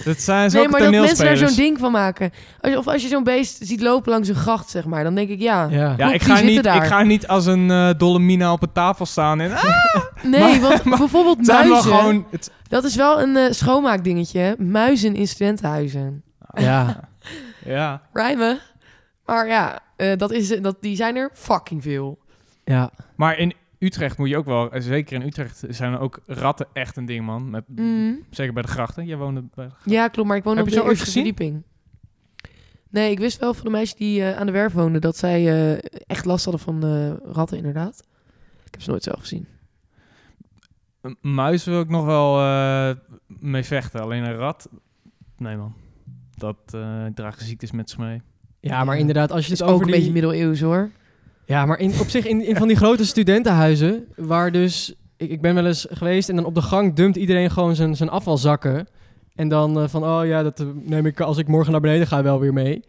[SPEAKER 1] dat zijn
[SPEAKER 2] Nee,
[SPEAKER 1] zulke
[SPEAKER 2] maar dat mensen daar
[SPEAKER 1] toneelspelers.
[SPEAKER 2] zo'n ding van maken. Als je- of als je zo'n beest ziet lopen langs een gracht, zeg maar. Dan denk ik, ja.
[SPEAKER 3] Ja.
[SPEAKER 1] ja,
[SPEAKER 2] Klopt,
[SPEAKER 1] ik
[SPEAKER 2] die
[SPEAKER 1] ga, niet,
[SPEAKER 2] zitten
[SPEAKER 1] ik
[SPEAKER 2] daar.
[SPEAKER 1] ga niet als een eh, dolle mina op een tafel staan. En, ah,
[SPEAKER 2] Nee, want bijvoorbeeld
[SPEAKER 1] het zijn wel
[SPEAKER 2] muizen.
[SPEAKER 1] gewoon... Het,
[SPEAKER 2] Dat is wel een eh, schoonmaakdingetje. hè. Muizen in studentenhuizen.
[SPEAKER 3] Ja.
[SPEAKER 1] ja.
[SPEAKER 2] Rijmen. Maar ja, eh, dat is, dat, die zijn er fucking veel.
[SPEAKER 3] ja.
[SPEAKER 1] Maar in Utrecht moet je ook wel... eh, Zeker in Utrecht zijn er ook ratten echt een ding, man. Met,
[SPEAKER 2] Mm.
[SPEAKER 1] Zeker bij de grachten. Jij woonde bij...
[SPEAKER 2] Ja, klopt. Maar ik woon
[SPEAKER 1] Heb
[SPEAKER 2] op
[SPEAKER 1] je
[SPEAKER 2] de
[SPEAKER 1] ze ooit
[SPEAKER 2] eerste
[SPEAKER 1] gezien?
[SPEAKER 2] verdieping. Nee, ik wist wel van de meisjes die eh, aan de werf woonden... dat zij eh, echt last hadden van eh, ratten, inderdaad. Ik heb ze nooit zelf gezien.
[SPEAKER 1] Een muis wil ik nog wel eh, mee vechten. Alleen een rat. Nee, man. Dat eh dragen ziektes met zich mee.
[SPEAKER 3] ja, maar inderdaad, als je
[SPEAKER 2] Het
[SPEAKER 3] het
[SPEAKER 2] is ook
[SPEAKER 3] over
[SPEAKER 2] een
[SPEAKER 3] die...
[SPEAKER 2] beetje middeleeuws, hoor.
[SPEAKER 3] Ja, maar in, op zich in, in van die grote studentenhuizen, waar dus... Ik, ik ben wel eens geweest en dan op de gang dumpt iedereen gewoon zijn, zijn afvalzakken. En dan eh, van, oh ja, dat eh, neem ik als ik morgen naar beneden ga wel weer mee.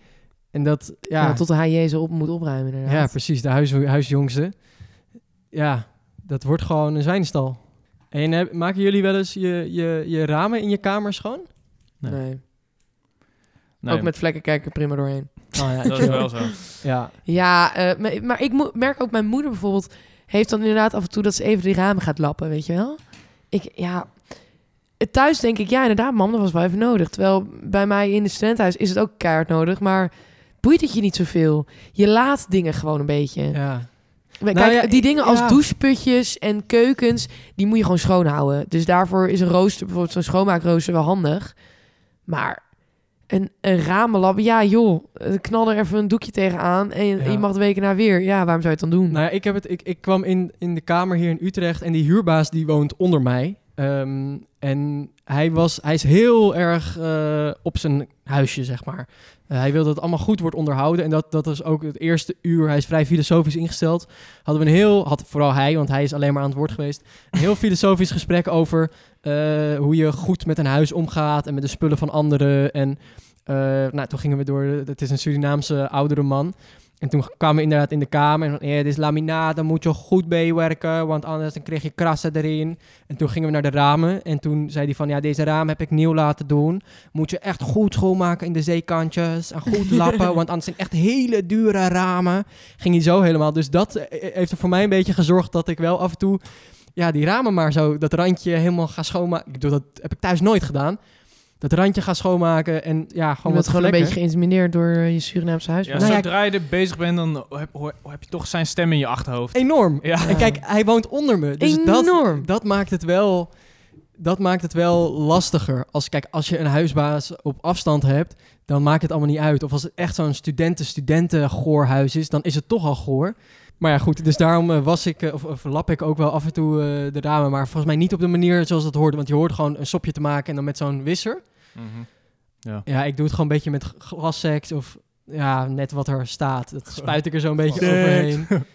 [SPEAKER 3] En dat,
[SPEAKER 2] Ja.
[SPEAKER 3] ja,
[SPEAKER 2] tot de HJ ze op moet opruimen, inderdaad.
[SPEAKER 3] Ja, precies. De huis, huisjongste. Ja, dat wordt gewoon een zwijnenstal. En eh, maken jullie wel eens je, je, je ramen in je kamer schoon?
[SPEAKER 1] Nee.
[SPEAKER 2] Nee.
[SPEAKER 1] Nee,
[SPEAKER 2] Ook met vlekken kijken prima doorheen.
[SPEAKER 3] Oh, ja,
[SPEAKER 1] Dat is wel zo.
[SPEAKER 3] Ja,
[SPEAKER 2] Ja, eh, maar- maar ik mo- merk ook mijn moeder bijvoorbeeld... heeft dan inderdaad af en toe dat ze even die ramen gaat lappen, weet je wel? Ik, ja... Eh, Thuis denk ik, ja inderdaad mam, dat was wel even nodig. Terwijl bij mij in het studentenhuis is het ook keihard nodig... maar boeit het je niet zoveel. Je laat dingen gewoon een beetje.
[SPEAKER 3] ja.
[SPEAKER 2] Maar
[SPEAKER 3] Nou
[SPEAKER 2] Kijk,
[SPEAKER 3] ja,
[SPEAKER 2] die dingen als
[SPEAKER 3] ja.
[SPEAKER 2] doucheputjes en keukens... die moet je gewoon schoonhouden. Dus daarvoor is een rooster, bijvoorbeeld zo'n schoonmaakrooster... wel handig. Maar een, een ramenlab, ja joh... eh, knal er even een doekje tegenaan... en je,
[SPEAKER 3] Ja.
[SPEAKER 2] je mag de weken na weer. Ja, waarom zou je het dan doen?
[SPEAKER 3] Nou ja, ik, heb het, ik, ik kwam in, in de kamer hier in Utrecht en die huurbaas die woont onder mij. Ehm, en hij, was, hij is heel erg eh, op zijn huisje, zeg maar. Eh, hij wil dat het allemaal goed wordt onderhouden. En dat, dat is ook het eerste uur. Hij is vrij filosofisch ingesteld. Hadden we een heel, had vooral hij, want hij is alleen maar aan het woord geweest. Een heel filosofisch gesprek over eh, hoe je goed met een huis omgaat en met de spullen van anderen. En eh, nou, toen gingen we door. de- Het is een Surinaamse oudere man. En toen kwamen we inderdaad in de kamer. En van, eh, dit is laminaat, daar moet je goed bij werken. Want anders dan kreeg je krassen erin. En toen gingen we naar de ramen. En toen zei hij van, ja, deze ramen heb ik nieuw laten doen. Moet je echt goed schoonmaken in de zijkantjes. En goed lappen, want anders zijn echt hele dure ramen. Ging hij zo helemaal. Dus dat eh, heeft er voor mij een beetje gezorgd dat ik wel af en toe... Ja, die ramen maar zo, dat randje helemaal ga schoonmaken. Ik doe dat heb ik thuis nooit gedaan. Dat randje ga schoonmaken en ja,
[SPEAKER 2] je
[SPEAKER 3] gewoon
[SPEAKER 2] wordt
[SPEAKER 3] wat
[SPEAKER 2] gewoon een
[SPEAKER 3] vlekken.
[SPEAKER 2] beetje geïntimideerd... door eh, je Surinaamse huis.
[SPEAKER 1] Ja,
[SPEAKER 3] Nou ja,
[SPEAKER 1] zodra je er bezig bent, dan heb, hoor- heb je toch zijn stem in je achterhoofd.
[SPEAKER 3] Enorm.
[SPEAKER 1] Ja.
[SPEAKER 3] En kijk, hij woont onder me. Dus dat,
[SPEAKER 2] Enorm.
[SPEAKER 3] dat maakt het wel. Dat maakt het wel lastiger. Als, kijk, als je een huisbaas op afstand hebt, dan maakt het allemaal niet uit. Of als het echt zo'n studenten-studenten-goorhuis is, dan is het toch al goor. Maar ja, goed, dus daarom eh, was ik, eh, of, of lap ik ook wel af en toe eh, de ramen. Maar volgens mij niet op de manier zoals dat hoort. Want je hoort gewoon een sopje te maken en dan met zo'n wisser.
[SPEAKER 1] Mhm.
[SPEAKER 3] Mm-hmm. Ja, ik doe het gewoon een beetje met g- glasseks of ja, net wat er staat. Dat spuit ik er zo'n beetje
[SPEAKER 1] Glasseks.
[SPEAKER 3] overheen.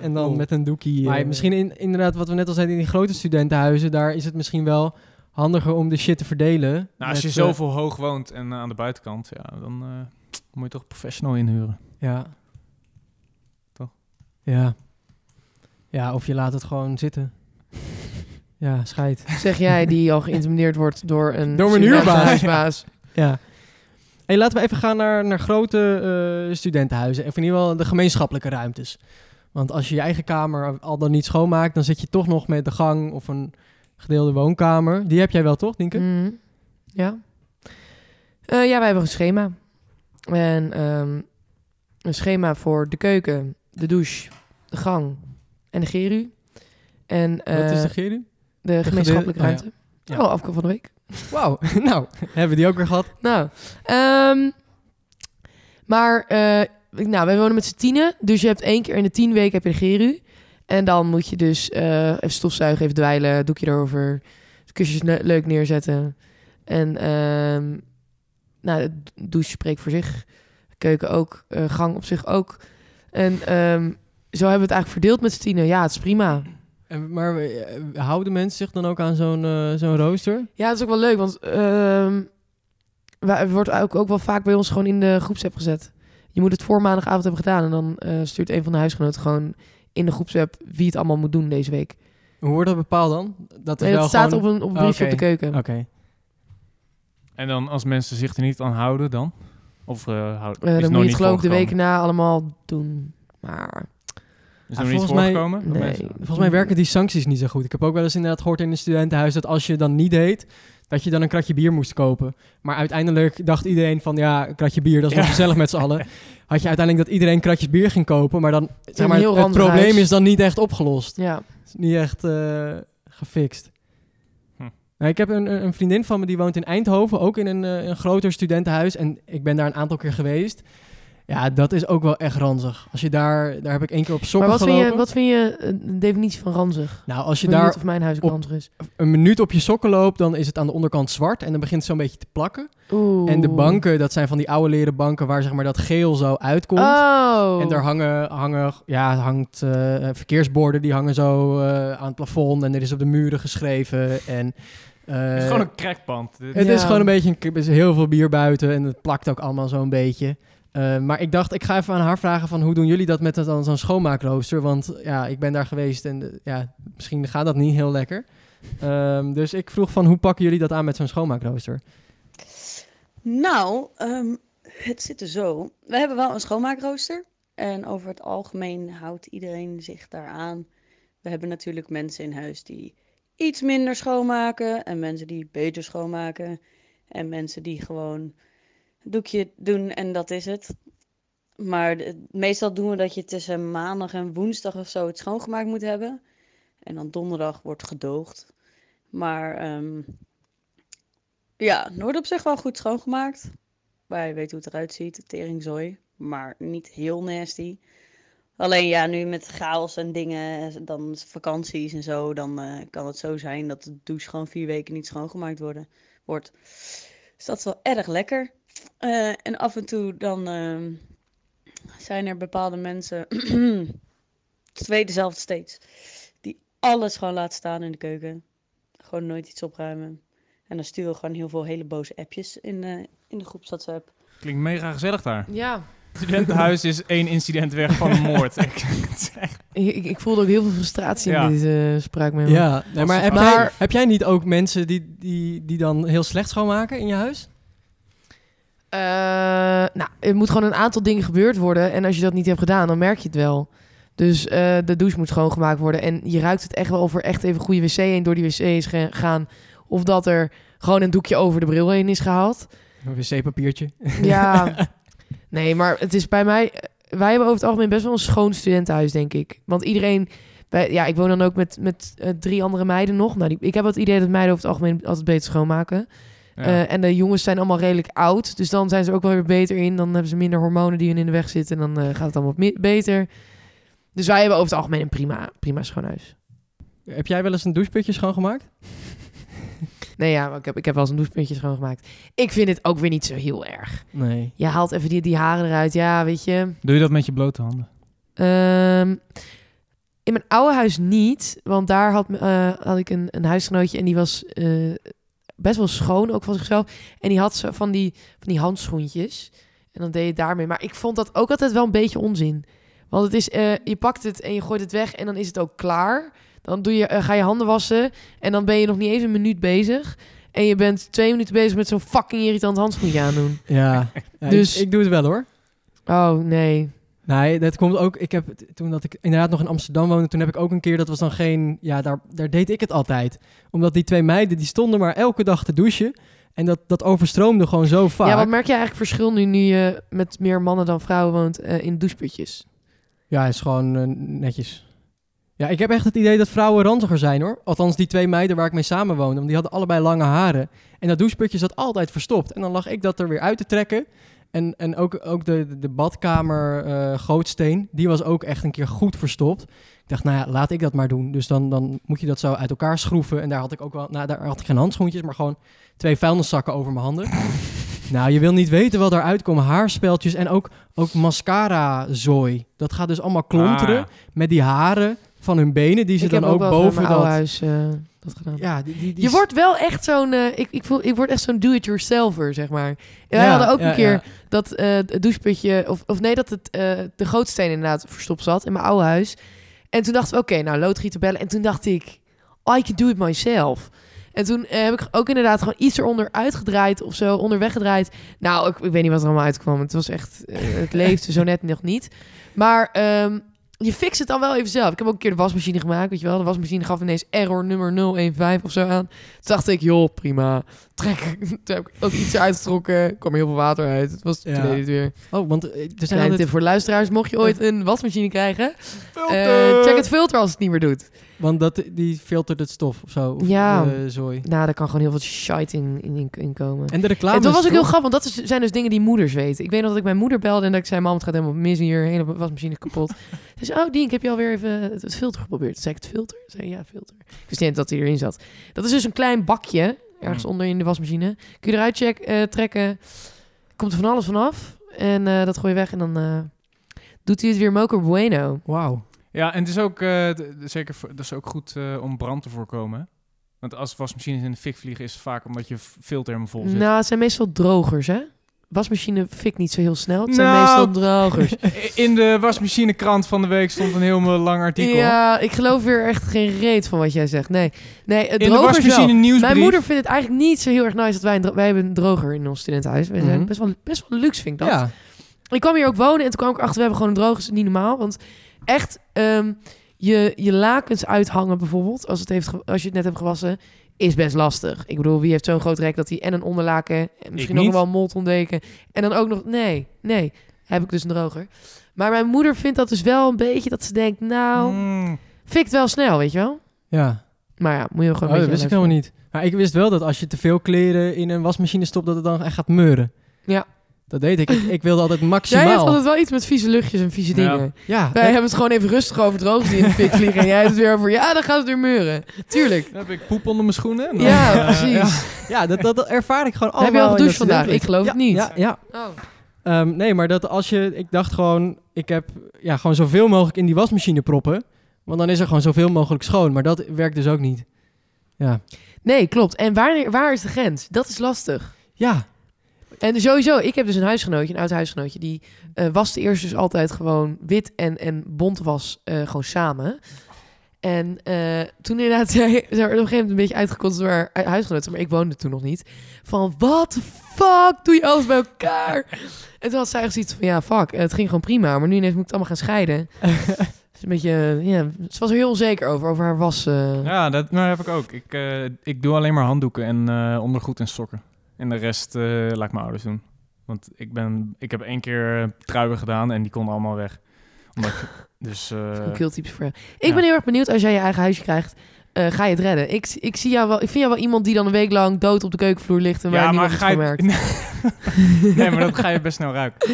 [SPEAKER 3] en dan
[SPEAKER 1] Oeh.
[SPEAKER 3] met een doekie.
[SPEAKER 1] Maar
[SPEAKER 3] Maar misschien in, inderdaad, wat we net al zeiden, in die grote studentenhuizen, daar is het misschien wel handiger om de shit te verdelen.
[SPEAKER 1] Nou, als
[SPEAKER 3] Met,
[SPEAKER 1] je
[SPEAKER 3] eh,
[SPEAKER 1] zoveel hoog woont en eh, aan de buitenkant, ja, dan eh, moet je toch professional inhuren.
[SPEAKER 3] ja.
[SPEAKER 1] Toch?
[SPEAKER 3] Ja. Ja, of je laat het gewoon zitten. Ja, scheid.
[SPEAKER 2] Zeg jij die al geïntimideerd wordt door een...
[SPEAKER 3] Door mijn huurbaas.
[SPEAKER 2] huurbaas.
[SPEAKER 3] Ja. Hey, laten we even gaan naar, naar grote eh, studentenhuizen. Of in ieder geval de gemeenschappelijke ruimtes. Want als je je eigen kamer al dan niet schoonmaakt, dan zit je toch nog met de gang of een gedeelde woonkamer. Die heb jij wel, toch, Dinke?
[SPEAKER 2] Mhm. Ja. Eh, ja, wij hebben een schema. En ehm, een schema voor de keuken, de douche, de gang en de geru. En eh,
[SPEAKER 3] Wat is de
[SPEAKER 2] de,
[SPEAKER 3] geri?
[SPEAKER 2] gemeenschappelijke
[SPEAKER 3] oh ja.
[SPEAKER 2] ruimte. Oh,
[SPEAKER 3] Ja.
[SPEAKER 2] afkoop van de week.
[SPEAKER 3] Wauw, nou, hebben we die ook weer gehad.
[SPEAKER 2] Nou, ehm, maar eh, nou, wij wonen met z'n tienen. Dus je hebt één keer in de tien weken heb je de geru. En dan moet je dus eh, even stofzuigen, even dweilen, doekje erover, kusjes ne- leuk neerzetten. En ehm, nou, de douche spreekt voor zich. Keuken ook, eh, gang op zich ook. En ehm, zo hebben we het eigenlijk verdeeld met z'n tienen. Ja, het is prima.
[SPEAKER 3] En, maar eh, houden mensen zich dan ook aan zo'n eh, zo'n rooster?
[SPEAKER 2] Ja, dat is ook wel leuk, want ehm wa- het wordt ook, ook wel vaak bij ons gewoon in de groepsapp gezet. Je moet het voor maandagavond hebben gedaan en dan eh, stuurt een van de huisgenoten gewoon in de groepsapp wie het allemaal moet doen deze week.
[SPEAKER 3] Hoe wordt dat bepaald dan? Dat, is
[SPEAKER 2] Nee,
[SPEAKER 3] wel
[SPEAKER 2] dat staat
[SPEAKER 3] gewoon- Ah,
[SPEAKER 2] op een, op een briefje
[SPEAKER 3] Oké.
[SPEAKER 2] op de keuken.
[SPEAKER 3] Oké.
[SPEAKER 1] En dan als mensen zich er niet aan houden dan? Of eh houden,
[SPEAKER 2] Eh,
[SPEAKER 1] is nog
[SPEAKER 2] dan moet je
[SPEAKER 1] niet
[SPEAKER 2] het geloof ik de weken
[SPEAKER 1] voorgekomen?
[SPEAKER 2] na allemaal doen. Maar
[SPEAKER 1] Is
[SPEAKER 3] Ja,
[SPEAKER 1] nog niet
[SPEAKER 3] volgens mij-
[SPEAKER 1] voorgekomen? Dat
[SPEAKER 2] nee.
[SPEAKER 1] mensen-
[SPEAKER 3] Volgens mij werken die sancties niet zo goed. Ik heb ook wel eens inderdaad gehoord in een studentenhuis dat als je dan niet deed, dat je dan een kratje bier moest kopen. Maar uiteindelijk dacht iedereen van ja, een kratje bier, dat is nog
[SPEAKER 1] Ja.
[SPEAKER 3] gezellig met z'n allen. Had je uiteindelijk dat iedereen kratjes bier ging kopen, maar dan zeg
[SPEAKER 2] een
[SPEAKER 3] maar,
[SPEAKER 2] heel
[SPEAKER 3] het
[SPEAKER 2] ranzig
[SPEAKER 3] probleem
[SPEAKER 2] huis.
[SPEAKER 3] is dan niet echt opgelost.
[SPEAKER 2] ja,
[SPEAKER 3] Het is niet echt eh, gefixt.
[SPEAKER 1] Hm.
[SPEAKER 3] Nou, ik heb een, een vriendin van me die woont in Eindhoven, ook in een, eh, een groter studentenhuis. En ik ben daar een aantal keer geweest. Ja, dat is ook wel echt ranzig. Als je daar, daar heb ik één keer op
[SPEAKER 2] maar
[SPEAKER 3] sokken
[SPEAKER 2] wat vind,
[SPEAKER 3] gelopen.
[SPEAKER 2] je, wat vind je eh, de definitie van ranzig?
[SPEAKER 3] Nou, als je
[SPEAKER 2] Ik weet
[SPEAKER 3] daar
[SPEAKER 2] niet of mijn huis ook
[SPEAKER 3] op-
[SPEAKER 2] ranzig is.
[SPEAKER 3] een minuut op je sokken loopt, dan is het aan de onderkant zwart en dan begint het zo'n beetje te plakken.
[SPEAKER 2] Oeh.
[SPEAKER 3] En de banken, dat zijn van die oude leren banken waar zeg maar dat geel zo uitkomt.
[SPEAKER 2] Oh.
[SPEAKER 3] En daar hangen, hangen ja, hangt eh, verkeersborden, die hangen zo eh, aan het plafond en er is op de muren geschreven. En, eh,
[SPEAKER 1] Het is gewoon een crackpand. Dit-
[SPEAKER 3] het is
[SPEAKER 2] Ja.
[SPEAKER 3] gewoon een beetje, een- er is heel veel bier buiten en het plakt ook allemaal zo'n beetje. Eh, maar ik dacht, ik ga even aan haar vragen van hoe doen jullie dat met dat- dan zo'n schoonmaakrooster? Want ja, ik ben daar geweest en eh, ja, misschien gaat dat niet heel lekker. Ehm, dus ik vroeg van hoe pakken jullie dat aan met zo'n schoonmaakrooster?
[SPEAKER 10] Nou, ehm, het zit er zo. We hebben wel een schoonmaakrooster. En over het algemeen houdt iedereen zich daaraan. We hebben natuurlijk mensen in huis die iets minder schoonmaken. En mensen die beter schoonmaken. En mensen die gewoon een doekje doen en dat is het. Maar de- meestal doen we dat je tussen maandag en woensdag of zo het schoongemaakt moet hebben. En dan donderdag wordt gedoogd. Maar ehm, ja, Noord op zich wel goed schoongemaakt. Maar je weet hoe het eruit ziet, teringzooi. Maar niet heel nasty. Alleen ja, nu met chaos en dingen, dan vakanties en zo, dan eh, kan het zo zijn dat de douche gewoon vier weken niet schoongemaakt worden, wordt. Dus dat is wel erg lekker. Eh, en af en toe dan ehm, zijn er bepaalde mensen, twee dezelfde steeds, die alles gewoon laten staan in de keuken. Gewoon nooit iets opruimen. En dan sturen we gewoon heel veel hele boze appjes in, eh in de groepswhatsapp.
[SPEAKER 1] Klinkt mega gezellig daar.
[SPEAKER 2] Ja.
[SPEAKER 1] Het studentenhuis is één incident weg van een moord. Ik-
[SPEAKER 2] Ik, ik- ik voelde ook heel veel frustratie
[SPEAKER 1] Ja.
[SPEAKER 2] in deze eh, spraak mee.
[SPEAKER 3] Ja, nee, maar, heb,
[SPEAKER 2] Maar-
[SPEAKER 3] Jij, heb jij niet ook mensen die, die, die dan heel slecht schoonmaken in je huis?
[SPEAKER 2] Eh, nou, er moet gewoon een aantal dingen gebeurd worden. En als je dat niet hebt gedaan, dan merk je het wel. Dus eh, de douche moet schoongemaakt worden. En je ruikt het echt wel of er echt even goede wc heen door die wc is ge- gaan. Of dat er gewoon een doekje over de bril heen is gehaald.
[SPEAKER 3] Een wc-papiertje.
[SPEAKER 2] Ja. Nee, maar het is bij mij... eh, Wij hebben over het algemeen best wel een schoon studentenhuis, denk ik. Want iedereen... Wij, ja, ik woon dan ook met, met eh, drie andere meiden nog. Nou, die, ik heb het idee dat meiden over het algemeen altijd beter schoonmaken.
[SPEAKER 1] Ja.
[SPEAKER 2] Eh, en de jongens zijn allemaal redelijk oud. Dus dan zijn ze ook wel weer beter in. Dan hebben ze minder hormonen die hun in de weg zitten. En dan eh, gaat het allemaal wat mi- beter. Dus wij hebben over het algemeen een prima, prima schoonhuis.
[SPEAKER 3] Heb jij wel eens een doucheputje schoongemaakt?
[SPEAKER 2] Nee, ja, maar ik heb, ik heb wel eens een douchepuntje schoongemaakt. Ik vind het ook weer niet zo heel erg.
[SPEAKER 3] Nee.
[SPEAKER 2] Je haalt even die, die haren eruit. Ja, weet je.
[SPEAKER 1] Doe je dat met je blote handen?
[SPEAKER 2] Ehm, in mijn oude huis niet, want daar had, eh, had ik een, een huisgenootje en die was eh, best wel schoon ook van zichzelf. En die had zo van die, van die handschoentjes en dan deed je het daarmee. Maar ik vond dat ook altijd wel een beetje onzin. Want het is, eh, je pakt het en je gooit het weg en dan is het ook klaar. Dan doe je, eh, ga je handen wassen en dan ben je nog niet eens een minuut bezig. En je bent twee minuten bezig met zo'n fucking irritant handschoentje aandoen.
[SPEAKER 3] Ja, ja,
[SPEAKER 2] Dus-
[SPEAKER 3] ik, ik doe het wel hoor.
[SPEAKER 2] Oh, nee.
[SPEAKER 3] Nee, dat komt ook. Ik heb het- toen dat ik inderdaad nog in Amsterdam woonde, toen heb ik ook een keer dat was dan geen. Ja, daar, daar deed ik het altijd. Omdat die twee meiden die stonden maar elke dag te douchen. En dat, dat overstroomde gewoon zo vaak.
[SPEAKER 2] Ja, wat merk je eigenlijk verschil nu, nu je met meer mannen dan vrouwen woont eh, in doucheputjes?
[SPEAKER 3] Ja, het is gewoon eh, netjes. Ja, ik heb echt het idee dat vrouwen ranziger zijn hoor. Althans, die twee meiden waar ik mee samenwoonde. Want die hadden allebei lange haren. En dat doucheputje zat altijd verstopt. En dan lag ik dat er weer uit te trekken. En, en ook, ook de, de badkamer eh, gootsteen, die was ook echt een keer goed verstopt. Ik dacht, nou ja, laat ik dat maar doen. Dus dan, dan moet je dat zo uit elkaar schroeven. En daar had ik ook wel, nou, daar had ik geen handschoentjes, maar gewoon twee vuilniszakken over mijn handen. nou, je wil niet weten wat eruit komt. Haarspeltjes en ook, ook mascara-zooi. Dat gaat dus allemaal klonteren
[SPEAKER 2] Ah.
[SPEAKER 3] met die haren van hun benen, die ze
[SPEAKER 2] ik
[SPEAKER 3] dan
[SPEAKER 2] heb
[SPEAKER 3] ook,
[SPEAKER 2] ook wel eens bij
[SPEAKER 3] boven
[SPEAKER 2] mijn
[SPEAKER 3] dat...
[SPEAKER 2] oude huis eh, dat gedaan.
[SPEAKER 3] Ja, die, die, die
[SPEAKER 2] Je wordt wel echt zo'n, eh, ik, ik, voel, ik word echt zo'n do-it-yourselfer, zeg maar. En wij
[SPEAKER 3] Ja,
[SPEAKER 2] hadden ook
[SPEAKER 3] ja,
[SPEAKER 2] een keer
[SPEAKER 3] ja.
[SPEAKER 2] dat eh, het doucheputje, of, of nee, dat het, eh, de gootsteen inderdaad verstopt zat in mijn oude huis. En toen dachten we, oké, nou, loodgieter bellen. En toen dacht ik, oh, I can do it myself. En toen eh, heb ik ook inderdaad gewoon iets eronder uitgedraaid of zo, onderweg gedraaid. Nou, ik, ik weet niet wat er allemaal uitkwam. Het was echt, eh, het leefde zo net nog niet. Maar ehm, je fixt het dan wel even zelf. Ik heb ook een keer de wasmachine gemaakt, weet je wel. De wasmachine gaf ineens error nummer 015 of zo aan. Toen dacht ik, joh, prima. Trek. Toen heb ik ook iets uitgetrokken. Er kwam heel veel water uit. Het was toen
[SPEAKER 3] Ja.
[SPEAKER 2] deed het weer.
[SPEAKER 3] Oh, want eh, er zijn
[SPEAKER 2] Kleine
[SPEAKER 3] altijd...
[SPEAKER 2] tip voor luisteraars. Mocht je ooit een wasmachine krijgen,
[SPEAKER 1] Ah,
[SPEAKER 2] eh, check het filter als het niet meer doet.
[SPEAKER 3] Want dat, die filtert het stof of zo. Of,
[SPEAKER 2] Ja.
[SPEAKER 3] eh, zooi.
[SPEAKER 2] Nou, daar kan gewoon heel veel shite in, in, in- in komen.
[SPEAKER 3] En de Oh, reclame
[SPEAKER 2] En toen was
[SPEAKER 3] is
[SPEAKER 2] ik heel
[SPEAKER 3] toch-
[SPEAKER 2] grappig, want dat is- zijn dus dingen die moeders weten. Ik weet nog dat ik mijn moeder belde en dat ik zei... Mam, het gaat helemaal mis hier, hele wasmachine is kapot. Ze zei, oh Dien, heb je alweer even het, het filter geprobeerd? Toen zei ik, het filter? Ze zei, ja, filter. Ik wist niet eens dat hij erin zat. Dat is dus een klein bakje, ergens
[SPEAKER 3] Hmm.
[SPEAKER 2] onder in de wasmachine. Kun je eruit check, eh, trekken, komt er van alles vanaf. En eh, dat gooi je weg en dan eh, doet hij het weer moker bueno.
[SPEAKER 3] Wauw.
[SPEAKER 1] Ja, en het is ook, eh, d- zeker, voor- dat is ook goed eh, om brand te voorkomen. hè? Want als wasmachines in de fik vliegen is het vaak omdat je f- filter helemaal vol zit.
[SPEAKER 2] Nou, het zijn meestal drogers, hè? Wasmachine fikt niet zo heel snel. Het zijn
[SPEAKER 1] Nou,
[SPEAKER 2] meestal drogers.
[SPEAKER 1] In de wasmachinekrant van de week stond een heel eh, lang artikel.
[SPEAKER 2] Ja, ik geloof weer echt geen reet van wat jij zegt. Nee, nee het
[SPEAKER 1] de
[SPEAKER 2] drogers
[SPEAKER 1] wasmachine
[SPEAKER 2] wel.
[SPEAKER 1] nieuwsbrief.
[SPEAKER 2] Mijn moeder vindt het eigenlijk niet zo heel erg nice dat wij een, dro- wij hebben een droger in ons studentenhuis. Wij zijn
[SPEAKER 3] Mhm.
[SPEAKER 2] best, wel, best wel luxe, vind ik dat.
[SPEAKER 3] Ja.
[SPEAKER 2] Ik kwam hier ook wonen en toen kwam ik achter, we hebben gewoon een droger. is niet normaal, want echt ehm, je, je lakens uithangen bijvoorbeeld, als, het heeft, ge- als je het net hebt gewassen, is best lastig. Ik bedoel, wie heeft zo'n groot rek dat hij en een onderlaken, en misschien ook
[SPEAKER 1] niet.
[SPEAKER 2] nog wel een moltondeken, en dan ook nog, nee, nee, heb ik dus een droger. Maar mijn moeder vindt dat dus wel een beetje, dat ze denkt, nou,
[SPEAKER 3] Mm.
[SPEAKER 1] Mm.
[SPEAKER 2] fikt wel snel, weet je wel?
[SPEAKER 3] Ja.
[SPEAKER 2] Maar ja, moet je gewoon
[SPEAKER 3] Oh,
[SPEAKER 2] een beetje
[SPEAKER 3] dat wist ik helemaal niet. Maar ik wist wel dat als je te veel kleren in een wasmachine stopt, dat het dan echt gaat meuren.
[SPEAKER 2] Ja.
[SPEAKER 3] Dat deed ik. Ik, ik wilde altijd maximaal.
[SPEAKER 2] Jij hebt altijd wel iets met vieze luchtjes en vieze
[SPEAKER 3] Ja.
[SPEAKER 2] dingen.
[SPEAKER 3] Ja,
[SPEAKER 2] Wij
[SPEAKER 3] dat-
[SPEAKER 2] hebben het gewoon even rustig over droogte die in de fik vliegen. En jij hebt het weer over, ja, dan gaat het weer meuren. Tuurlijk.
[SPEAKER 1] Dan heb ik poep onder mijn schoenen. en dan-
[SPEAKER 2] Ja,
[SPEAKER 1] eh,
[SPEAKER 2] precies.
[SPEAKER 3] Ja, dat, dat, dat ervaar ik gewoon allemaal.
[SPEAKER 2] Heb je al
[SPEAKER 3] in
[SPEAKER 2] gedoucht
[SPEAKER 3] dat
[SPEAKER 2] vandaag? Ik geloof
[SPEAKER 3] ja,
[SPEAKER 2] het niet.
[SPEAKER 3] Ja, ja.
[SPEAKER 2] Oh.
[SPEAKER 3] Ehm, nee, maar dat als je... Ik dacht gewoon, ik heb ja, gewoon zoveel mogelijk in die wasmachine proppen. Want dan is er gewoon zoveel mogelijk schoon. Maar dat werkt dus ook niet. Ja.
[SPEAKER 2] Nee, klopt. En waar, waar is de grens? Dat is lastig.
[SPEAKER 3] Ja.
[SPEAKER 2] En sowieso, ik heb dus een huisgenootje, een oud huisgenootje, die eh waste eerst dus altijd gewoon wit en, en bont was eh, gewoon samen. En eh, toen inderdaad zei, ze werd op een gegeven moment een beetje uitgekotst door haar hu- huisgenoten, maar ik woonde toen nog niet. Van, wat de fuck doe je alles bij elkaar? En toen had zij gezien van, ja, fuck, het ging gewoon prima, maar nu ineens moet ik het allemaal gaan scheiden. Dus een beetje, eh, ja, ze was er heel onzeker over, over haar was. eh,
[SPEAKER 1] Ja, dat nou, heb ik ook. Ik, eh, ik doe alleen maar handdoeken en eh, ondergoed en sokken. En de rest eh, laat ik mijn ouders doen. Want ik, ben, ik heb één keer eh, truien gedaan en die konden allemaal weg. Omdat ik- dus, eh,
[SPEAKER 2] Ook heel typisch voor jou. Ik ben heel erg benieuwd als jij je eigen huisje krijgt. eh, ga je het redden? Ik, ik, zie jou wel, ik vind jou wel iemand die dan een week lang dood op de keukenvloer ligt en waar
[SPEAKER 1] ja, maar
[SPEAKER 2] niemand
[SPEAKER 1] ga je...
[SPEAKER 2] het van merkt.
[SPEAKER 1] nee, maar dat ga je best snel ruiken.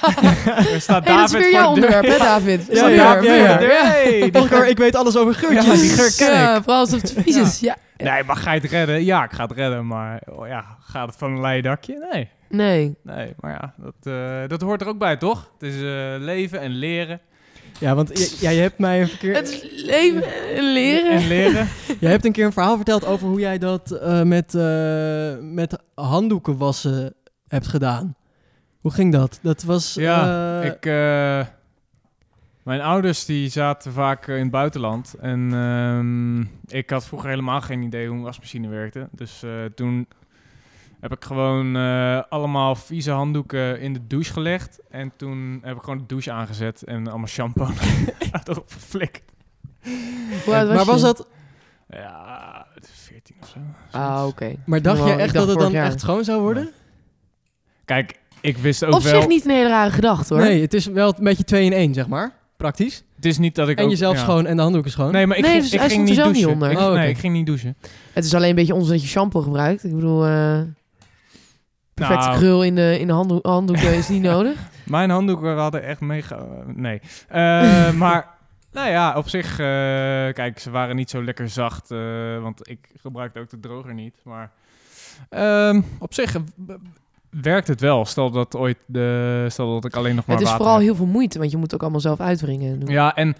[SPEAKER 1] er staat
[SPEAKER 2] Hey, dat is weer
[SPEAKER 1] voor
[SPEAKER 2] jouw
[SPEAKER 1] de deur.
[SPEAKER 2] onderwerp, hè David?
[SPEAKER 1] Ja,
[SPEAKER 2] Snap je?
[SPEAKER 1] ja, ja, ja. Hey, die
[SPEAKER 3] Och, ik weet alles over geurtjes.
[SPEAKER 1] Ja, die geur ken ik.
[SPEAKER 2] Ja, vooral als het vies is. Ja.
[SPEAKER 1] Nee, maar ga je het redden? Ja, ik ga het redden. Maar oh ja, gaat het van een leien dakje? Nee.
[SPEAKER 2] Nee.
[SPEAKER 1] Nee, maar ja, dat, eh, dat hoort er ook bij, toch? Het is eh, leven en leren.
[SPEAKER 3] Ja, want j- jij hebt mij een verkeer...
[SPEAKER 2] Het is leven en leren.
[SPEAKER 1] En leren.
[SPEAKER 3] Jij hebt een keer een verhaal verteld over hoe jij dat eh, met, eh, met handdoeken wassen hebt gedaan. Hoe ging dat? Dat was...
[SPEAKER 1] Ja,
[SPEAKER 3] eh,
[SPEAKER 1] ik... eh, Mijn ouders die zaten vaak eh, in het buitenland. En ehm, ik had vroeger helemaal geen idee hoe een wasmachine werkte. Dus eh, toen heb ik gewoon eh, allemaal vieze handdoeken in de douche gelegd. En toen heb ik gewoon de douche aangezet en allemaal shampoo erop geflikt.
[SPEAKER 2] Hoe oud was
[SPEAKER 3] eh, maar
[SPEAKER 2] je?
[SPEAKER 3] was dat...
[SPEAKER 1] Ja, 14 of zo.
[SPEAKER 2] Ah, oké.
[SPEAKER 3] Maar dacht
[SPEAKER 2] Normaal,
[SPEAKER 3] je
[SPEAKER 2] ik
[SPEAKER 3] echt dat het
[SPEAKER 2] vorig
[SPEAKER 3] dan
[SPEAKER 2] jaar.
[SPEAKER 3] echt schoon zou worden?
[SPEAKER 1] Kijk, ik wist ook
[SPEAKER 2] Op
[SPEAKER 1] wel...
[SPEAKER 2] zich niet een hele rare gedachte, hoor.
[SPEAKER 3] Nee, het is wel een beetje twee in één, zeg maar. Praktisch.
[SPEAKER 1] Het is niet dat ik
[SPEAKER 3] En
[SPEAKER 1] ook-
[SPEAKER 3] jezelf
[SPEAKER 1] ja.
[SPEAKER 3] schoon en de handdoeken schoon.
[SPEAKER 1] Nee, maar ik
[SPEAKER 2] Nee,
[SPEAKER 1] ging,
[SPEAKER 2] dus
[SPEAKER 1] ik
[SPEAKER 2] hij
[SPEAKER 1] ging
[SPEAKER 2] stond er
[SPEAKER 1] niet
[SPEAKER 2] zelf
[SPEAKER 1] douchen.
[SPEAKER 2] niet onder.
[SPEAKER 1] Ik,
[SPEAKER 3] Oh, oké.
[SPEAKER 1] Nee, ik ging niet douchen.
[SPEAKER 2] Het is alleen een beetje onzin dat je shampoo gebruikt. Ik bedoel, eh perfecte
[SPEAKER 1] Nou.
[SPEAKER 2] krul in de, in de handdoek, handdoeken is niet nodig.
[SPEAKER 1] Mijn handdoeken hadden echt mega... eh, nee. Eh, maar, nou ja, op zich... eh, kijk, ze waren niet zo lekker zacht. eh, want ik gebruikte ook de droger niet. Maar ehm, op zich eh, b- werkt het wel. Stel dat ooit... De, stel dat ik alleen nog maar
[SPEAKER 2] het is
[SPEAKER 1] water
[SPEAKER 2] vooral
[SPEAKER 1] heb.
[SPEAKER 2] heel veel moeite, want je moet ook allemaal zelf uitwringen. en doen.
[SPEAKER 1] Ja, en...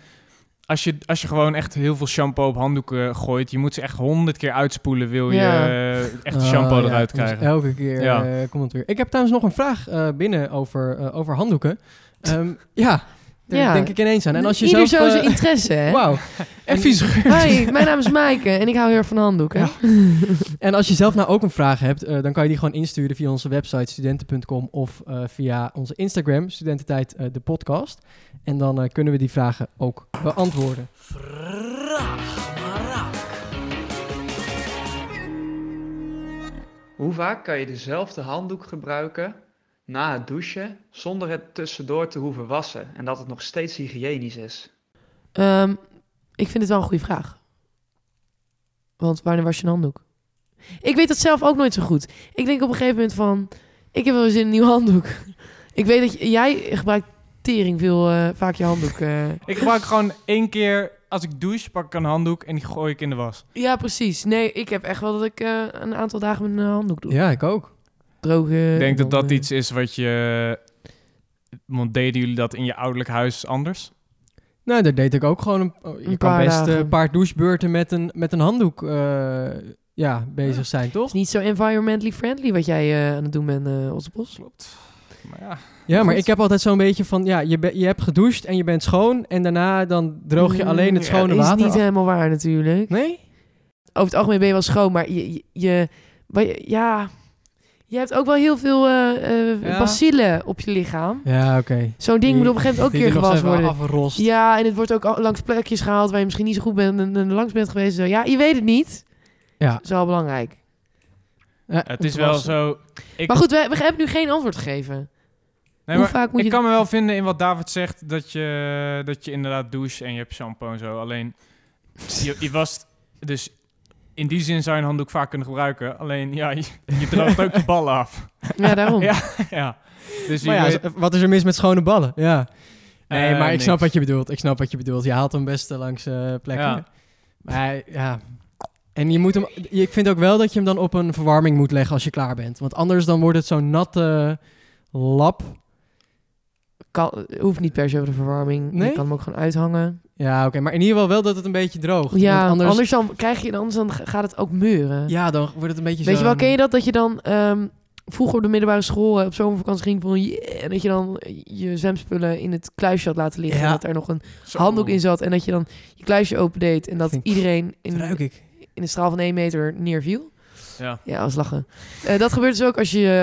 [SPEAKER 1] Als je, als je gewoon echt heel veel shampoo op handdoeken gooit, je moet ze echt honderd keer uitspoelen, wil je
[SPEAKER 2] Ja.
[SPEAKER 1] eh, echt de shampoo
[SPEAKER 3] Oh, ja,
[SPEAKER 1] eruit
[SPEAKER 3] dus
[SPEAKER 1] krijgen.
[SPEAKER 3] elke keer
[SPEAKER 1] Ja.
[SPEAKER 3] eh, komt het weer. Ik heb trouwens nog een vraag eh, binnen over, eh, over handdoeken. Ehm, ja, daar
[SPEAKER 2] Ja.
[SPEAKER 3] denk ik ineens aan. En als je
[SPEAKER 2] Ieder
[SPEAKER 3] zelf...
[SPEAKER 2] zo
[SPEAKER 3] eh,
[SPEAKER 2] zijn interesse, hè?
[SPEAKER 3] Wauw.
[SPEAKER 1] En vies geur.
[SPEAKER 2] Hi, mijn naam is Maaike en ik hou heel erg van handdoeken.
[SPEAKER 3] Ja. En als je zelf nou ook een vraag hebt, eh, dan kan je die gewoon insturen via onze website studenten.com of eh, via onze Instagram, Studententijd eh, de podcast. En dan eh, kunnen we die vragen ook beantwoorden.
[SPEAKER 11] Hoe vaak kan je dezelfde handdoek gebruiken na het douchen zonder het tussendoor te hoeven wassen en dat het nog steeds hygiënisch is?
[SPEAKER 2] Ehm, ik vind het wel een goede vraag. Want wanneer was je een handdoek? Ik weet dat zelf ook nooit zo goed. Ik denk op een gegeven moment van... Ik heb wel eens in een nieuw handdoek. ik weet dat je- jij gebruikt tering veel eh, vaak je handdoek. eh.
[SPEAKER 1] Ik gebruik gewoon één keer, als ik douche, pak ik een handdoek en die gooi ik in de was.
[SPEAKER 2] Ja, precies. Nee, ik heb echt wel dat ik eh, een aantal dagen mijn eh, handdoek doe.
[SPEAKER 3] Ja, ik ook.
[SPEAKER 2] Drogen.
[SPEAKER 1] Ik denk dat
[SPEAKER 2] dan,
[SPEAKER 1] dat
[SPEAKER 2] eh,
[SPEAKER 1] iets is wat je... Want deden jullie dat in je ouderlijk huis anders?
[SPEAKER 3] Nou, dat deed ik ook gewoon. Een, oh, je
[SPEAKER 2] Een
[SPEAKER 3] kan
[SPEAKER 2] paar
[SPEAKER 3] best eh, een
[SPEAKER 2] dagen.
[SPEAKER 3] paar douchebeurten met een, met een handdoek eh, ja, bezig zijn, toch?
[SPEAKER 2] is niet zo environmentally friendly wat jij eh, aan het doen bent, eh Ottebos.
[SPEAKER 1] Klopt. Maar ja,
[SPEAKER 3] Ja, maar
[SPEAKER 2] Goed.
[SPEAKER 3] ik heb altijd zo'n beetje van, ja, je, be- je hebt gedoucht en je bent schoon. En daarna dan droog je alleen
[SPEAKER 2] Mm,
[SPEAKER 3] het schone
[SPEAKER 2] ja,
[SPEAKER 3] water
[SPEAKER 2] is niet
[SPEAKER 3] af.
[SPEAKER 2] helemaal waar natuurlijk.
[SPEAKER 3] Nee?
[SPEAKER 2] Over het algemeen ben je wel schoon, maar je... je, je- maar je- ja, je hebt ook wel heel veel eh eh,
[SPEAKER 1] Ja.
[SPEAKER 2] bacillen op je lichaam.
[SPEAKER 3] Ja, oké.
[SPEAKER 2] Zo'n ding
[SPEAKER 3] Die-
[SPEAKER 2] moet op een gegeven moment ook een
[SPEAKER 3] die
[SPEAKER 2] keer
[SPEAKER 3] er nog
[SPEAKER 2] gewassen
[SPEAKER 3] eens even
[SPEAKER 2] worden.
[SPEAKER 3] afrost.
[SPEAKER 2] Ja, en het wordt ook al langs plekjes gehaald waar je misschien niet zo goed bent en, en langs bent geweest. Zo, Ja, je weet het niet.
[SPEAKER 3] Ja.
[SPEAKER 2] Dat is wel belangrijk.
[SPEAKER 3] Ja,
[SPEAKER 1] het
[SPEAKER 3] om
[SPEAKER 1] is
[SPEAKER 3] te
[SPEAKER 1] wel
[SPEAKER 3] wassen.
[SPEAKER 1] zo... Ik,
[SPEAKER 2] Maar goed, we, we hebben nu geen antwoord gegeven.
[SPEAKER 1] nee,
[SPEAKER 2] Hoe
[SPEAKER 1] maar
[SPEAKER 2] vaak moet
[SPEAKER 1] ik
[SPEAKER 2] je...
[SPEAKER 1] kan me wel vinden in wat David zegt, dat je, dat je inderdaad douche en je hebt shampoo en zo. Alleen, je, je wast... Dus in die zin zou je een handdoek vaak kunnen gebruiken. Alleen, ja, je, je droogt ook je ballen af.
[SPEAKER 2] Ja, daarom.
[SPEAKER 1] Ja. ja. Dus je
[SPEAKER 3] Maar ja,
[SPEAKER 1] weet-
[SPEAKER 3] z- wat is er mis met schone ballen? Ja. Nee,
[SPEAKER 1] Eh,
[SPEAKER 3] maar ik
[SPEAKER 1] niks.
[SPEAKER 3] snap wat je bedoelt. Ik snap wat je bedoelt. Je haalt hem best eh, langs eh, plekken.
[SPEAKER 1] Ja.
[SPEAKER 3] Maar ja. En je moet hem, je- ik vind ook wel dat je hem dan op een verwarming moet leggen als je klaar bent. Want anders dan wordt het zo'n natte lap.
[SPEAKER 2] Kan, hoeft niet per se op de verwarming.
[SPEAKER 3] Nee?
[SPEAKER 2] Je kan hem ook gewoon uithangen.
[SPEAKER 3] Ja, oké. maar in ieder geval wel dat het een beetje droogt.
[SPEAKER 2] Ja,
[SPEAKER 3] Want
[SPEAKER 2] anders... dan krijg je anders dan gaat het ook meuren.
[SPEAKER 3] Ja, dan wordt het een beetje
[SPEAKER 2] Weet je wel,
[SPEAKER 3] zo'n-
[SPEAKER 2] ken je dat? Dat je dan ehm, vroeger op de middelbare school eh, op zomervakantie ging van yeah, en dat je dan je zwemspullen in het kluisje had laten liggen.
[SPEAKER 3] Ja.
[SPEAKER 2] En dat er nog een
[SPEAKER 1] Zo.
[SPEAKER 2] handdoek in zat. En dat je dan je kluisje opendeed en dat
[SPEAKER 3] Vind ik-
[SPEAKER 2] iedereen
[SPEAKER 3] Dat
[SPEAKER 2] in,
[SPEAKER 3] ruik ik.
[SPEAKER 2] in een straal van 1 meter neerviel.
[SPEAKER 1] Ja.
[SPEAKER 2] Ja, als lachen. Eh, dat gebeurt dus ook als je je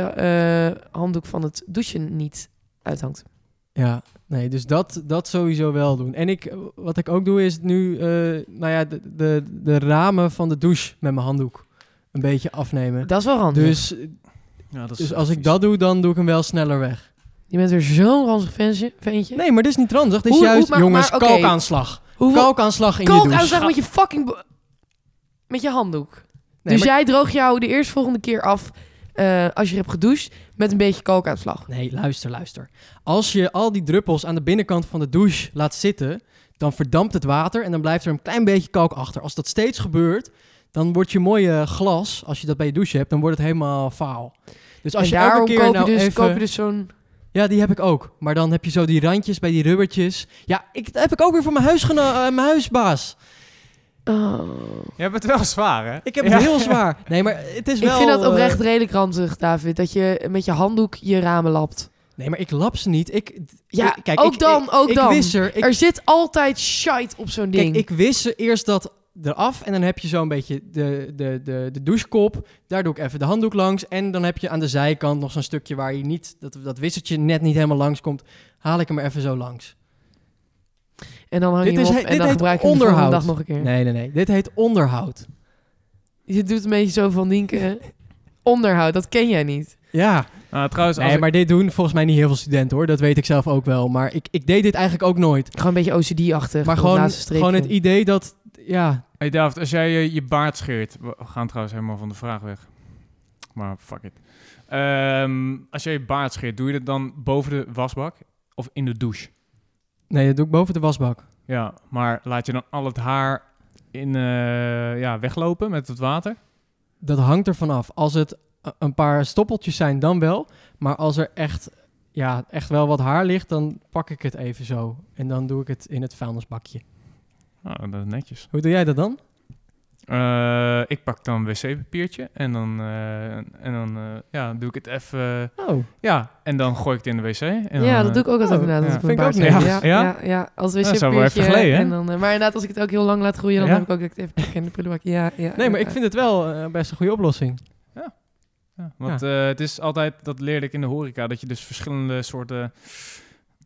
[SPEAKER 2] eh, handdoek van het douchen niet uithangt.
[SPEAKER 3] Ja, nee, dus dat, dat sowieso wel doen. En ik, wat ik ook doe is nu, eh, nou ja, de, de, de ramen van de douche met mijn handdoek een beetje afnemen.
[SPEAKER 2] Dat is wel handig.
[SPEAKER 3] Dus,
[SPEAKER 1] Ja, dat is
[SPEAKER 3] dus
[SPEAKER 1] echt
[SPEAKER 3] als ik
[SPEAKER 1] vies.
[SPEAKER 3] dat doe, dan doe ik hem wel sneller weg.
[SPEAKER 2] Je bent weer zo'n ranzig ventje. ventje.
[SPEAKER 3] Nee, maar dit is niet ranzig. Dit is
[SPEAKER 2] Hoe- hoe-
[SPEAKER 3] juist,
[SPEAKER 2] maar-
[SPEAKER 3] jongens,
[SPEAKER 2] maar oké.
[SPEAKER 3] kalkaanslag.
[SPEAKER 2] Hoeveel
[SPEAKER 3] Kalkaanslag in je
[SPEAKER 2] kalk
[SPEAKER 3] douche.
[SPEAKER 2] aanslag met je fucking... bo- Met je handdoek.
[SPEAKER 3] Nee,
[SPEAKER 2] dus
[SPEAKER 3] maar-
[SPEAKER 2] jij droog jou de eerstvolgende keer af eh, als je hebt gedoucht met een beetje kalkaanslag.
[SPEAKER 3] Nee, luister, luister. Als je al die druppels aan de binnenkant van de douche laat zitten, dan verdampt het water en dan blijft er een klein beetje kalk achter. Als dat steeds gebeurt, dan wordt je mooie glas, als je dat bij je douche hebt, dan wordt het helemaal faal. Dus als
[SPEAKER 2] en
[SPEAKER 3] je elke
[SPEAKER 2] daarom
[SPEAKER 3] keer
[SPEAKER 2] koop,
[SPEAKER 3] nou
[SPEAKER 2] je dus,
[SPEAKER 3] even...
[SPEAKER 2] koop je dus zo'n...
[SPEAKER 3] Ja, die heb ik ook. Maar dan heb je zo die randjes bij die rubbertjes. Ja, ik, dat heb ik ook weer van mijn, huisgeno- eh, mijn huisbaas.
[SPEAKER 2] Oh.
[SPEAKER 1] Je hebt het wel zwaar, hè?
[SPEAKER 3] Ik heb het
[SPEAKER 1] Ja.
[SPEAKER 3] heel zwaar. Nee, maar het is
[SPEAKER 2] Ik
[SPEAKER 3] wel...
[SPEAKER 2] vind dat
[SPEAKER 3] eh,
[SPEAKER 2] oprecht redelijk ranzig, David. Dat je met je handdoek je ramen lapt.
[SPEAKER 3] Nee, maar ik lap ze niet. Ik,
[SPEAKER 2] Ja,
[SPEAKER 3] ik- kijk,
[SPEAKER 2] ook
[SPEAKER 3] ik-
[SPEAKER 2] dan,
[SPEAKER 3] ik-
[SPEAKER 2] ook
[SPEAKER 3] ik
[SPEAKER 2] dan.
[SPEAKER 3] Wist er, ik-
[SPEAKER 2] Er zit altijd shite op zo'n ding.
[SPEAKER 3] Kijk, ik wist ze eerst dat eraf en dan heb je zo'n beetje de, de, de, de douchekop. Daar doe ik even de handdoek langs. En dan heb je aan de zijkant nog zo'n stukje waar je niet, dat, dat wisseltje net niet helemaal langs komt. Haal ik hem er even zo langs.
[SPEAKER 2] En dan hang je hem op en dan gebruik je hem de volgende
[SPEAKER 3] onderhoud.
[SPEAKER 2] dag nog een keer.
[SPEAKER 3] Nee, nee, nee. Dit heet onderhoud.
[SPEAKER 2] Je doet een beetje zo van Dienke. Onderhoud, dat ken jij niet.
[SPEAKER 3] Ja.
[SPEAKER 1] Nou, trouwens,
[SPEAKER 3] Dus nee,
[SPEAKER 1] als ik-
[SPEAKER 3] maar dit doen volgens mij niet heel veel studenten hoor. Dat weet ik zelf ook wel. Maar ik, ik deed dit eigenlijk ook nooit.
[SPEAKER 2] Gewoon een beetje OCD-achtig.
[SPEAKER 3] Maar
[SPEAKER 2] dat
[SPEAKER 3] gewoon,
[SPEAKER 2] laatste streepje.
[SPEAKER 3] gewoon het idee dat, ja,
[SPEAKER 1] Hey David, als jij eh, je baard scheert... We gaan trouwens helemaal van de vraag weg. Maar fuck it. Ehm, als jij je baard scheert, doe je dat dan boven de wasbak of in de douche?
[SPEAKER 3] nee, dat doe ik boven de wasbak.
[SPEAKER 1] Ja, maar laat je dan al het haar in, eh, ja, weglopen met het water?
[SPEAKER 3] Dat hangt ervan af. Als het e- een paar stoppeltjes zijn, dan wel. Maar als er echt, ja, echt wel wat haar ligt, dan pak ik het even zo. En dan doe ik het in het vuilnisbakje.
[SPEAKER 1] Nou, dat is netjes.
[SPEAKER 3] Hoe doe jij dat dan?
[SPEAKER 1] Eh, ik pak dan wc-papiertje en dan, eh, en dan eh, ja, doe ik het even...
[SPEAKER 3] Oh.
[SPEAKER 1] Ja, en dan gooi ik het in de wc. En
[SPEAKER 2] ja,
[SPEAKER 1] dan,
[SPEAKER 2] dat
[SPEAKER 1] eh,
[SPEAKER 2] doe ik ook altijd
[SPEAKER 1] oh,
[SPEAKER 2] inderdaad.
[SPEAKER 1] ja.
[SPEAKER 2] als ik mijn baard
[SPEAKER 1] Ja,
[SPEAKER 2] heb.
[SPEAKER 1] ja?
[SPEAKER 2] ja, ja, ja. Als
[SPEAKER 1] Ja,
[SPEAKER 2] wc
[SPEAKER 1] dat is al wel even
[SPEAKER 2] papiertje
[SPEAKER 1] geleden, hè?
[SPEAKER 2] en dan, eh, Maar inderdaad, als ik het ook heel lang laat groeien, dan
[SPEAKER 1] Ja?
[SPEAKER 2] heb ik ook dat ik het even kijk in de prullenbak. Ja, ja,
[SPEAKER 3] Nee, maar
[SPEAKER 2] ja.
[SPEAKER 3] ik vind het wel eh, best een goede oplossing.
[SPEAKER 1] Ja, want eh, het is altijd, dat leerde ik in de horeca, dat je dus verschillende soorten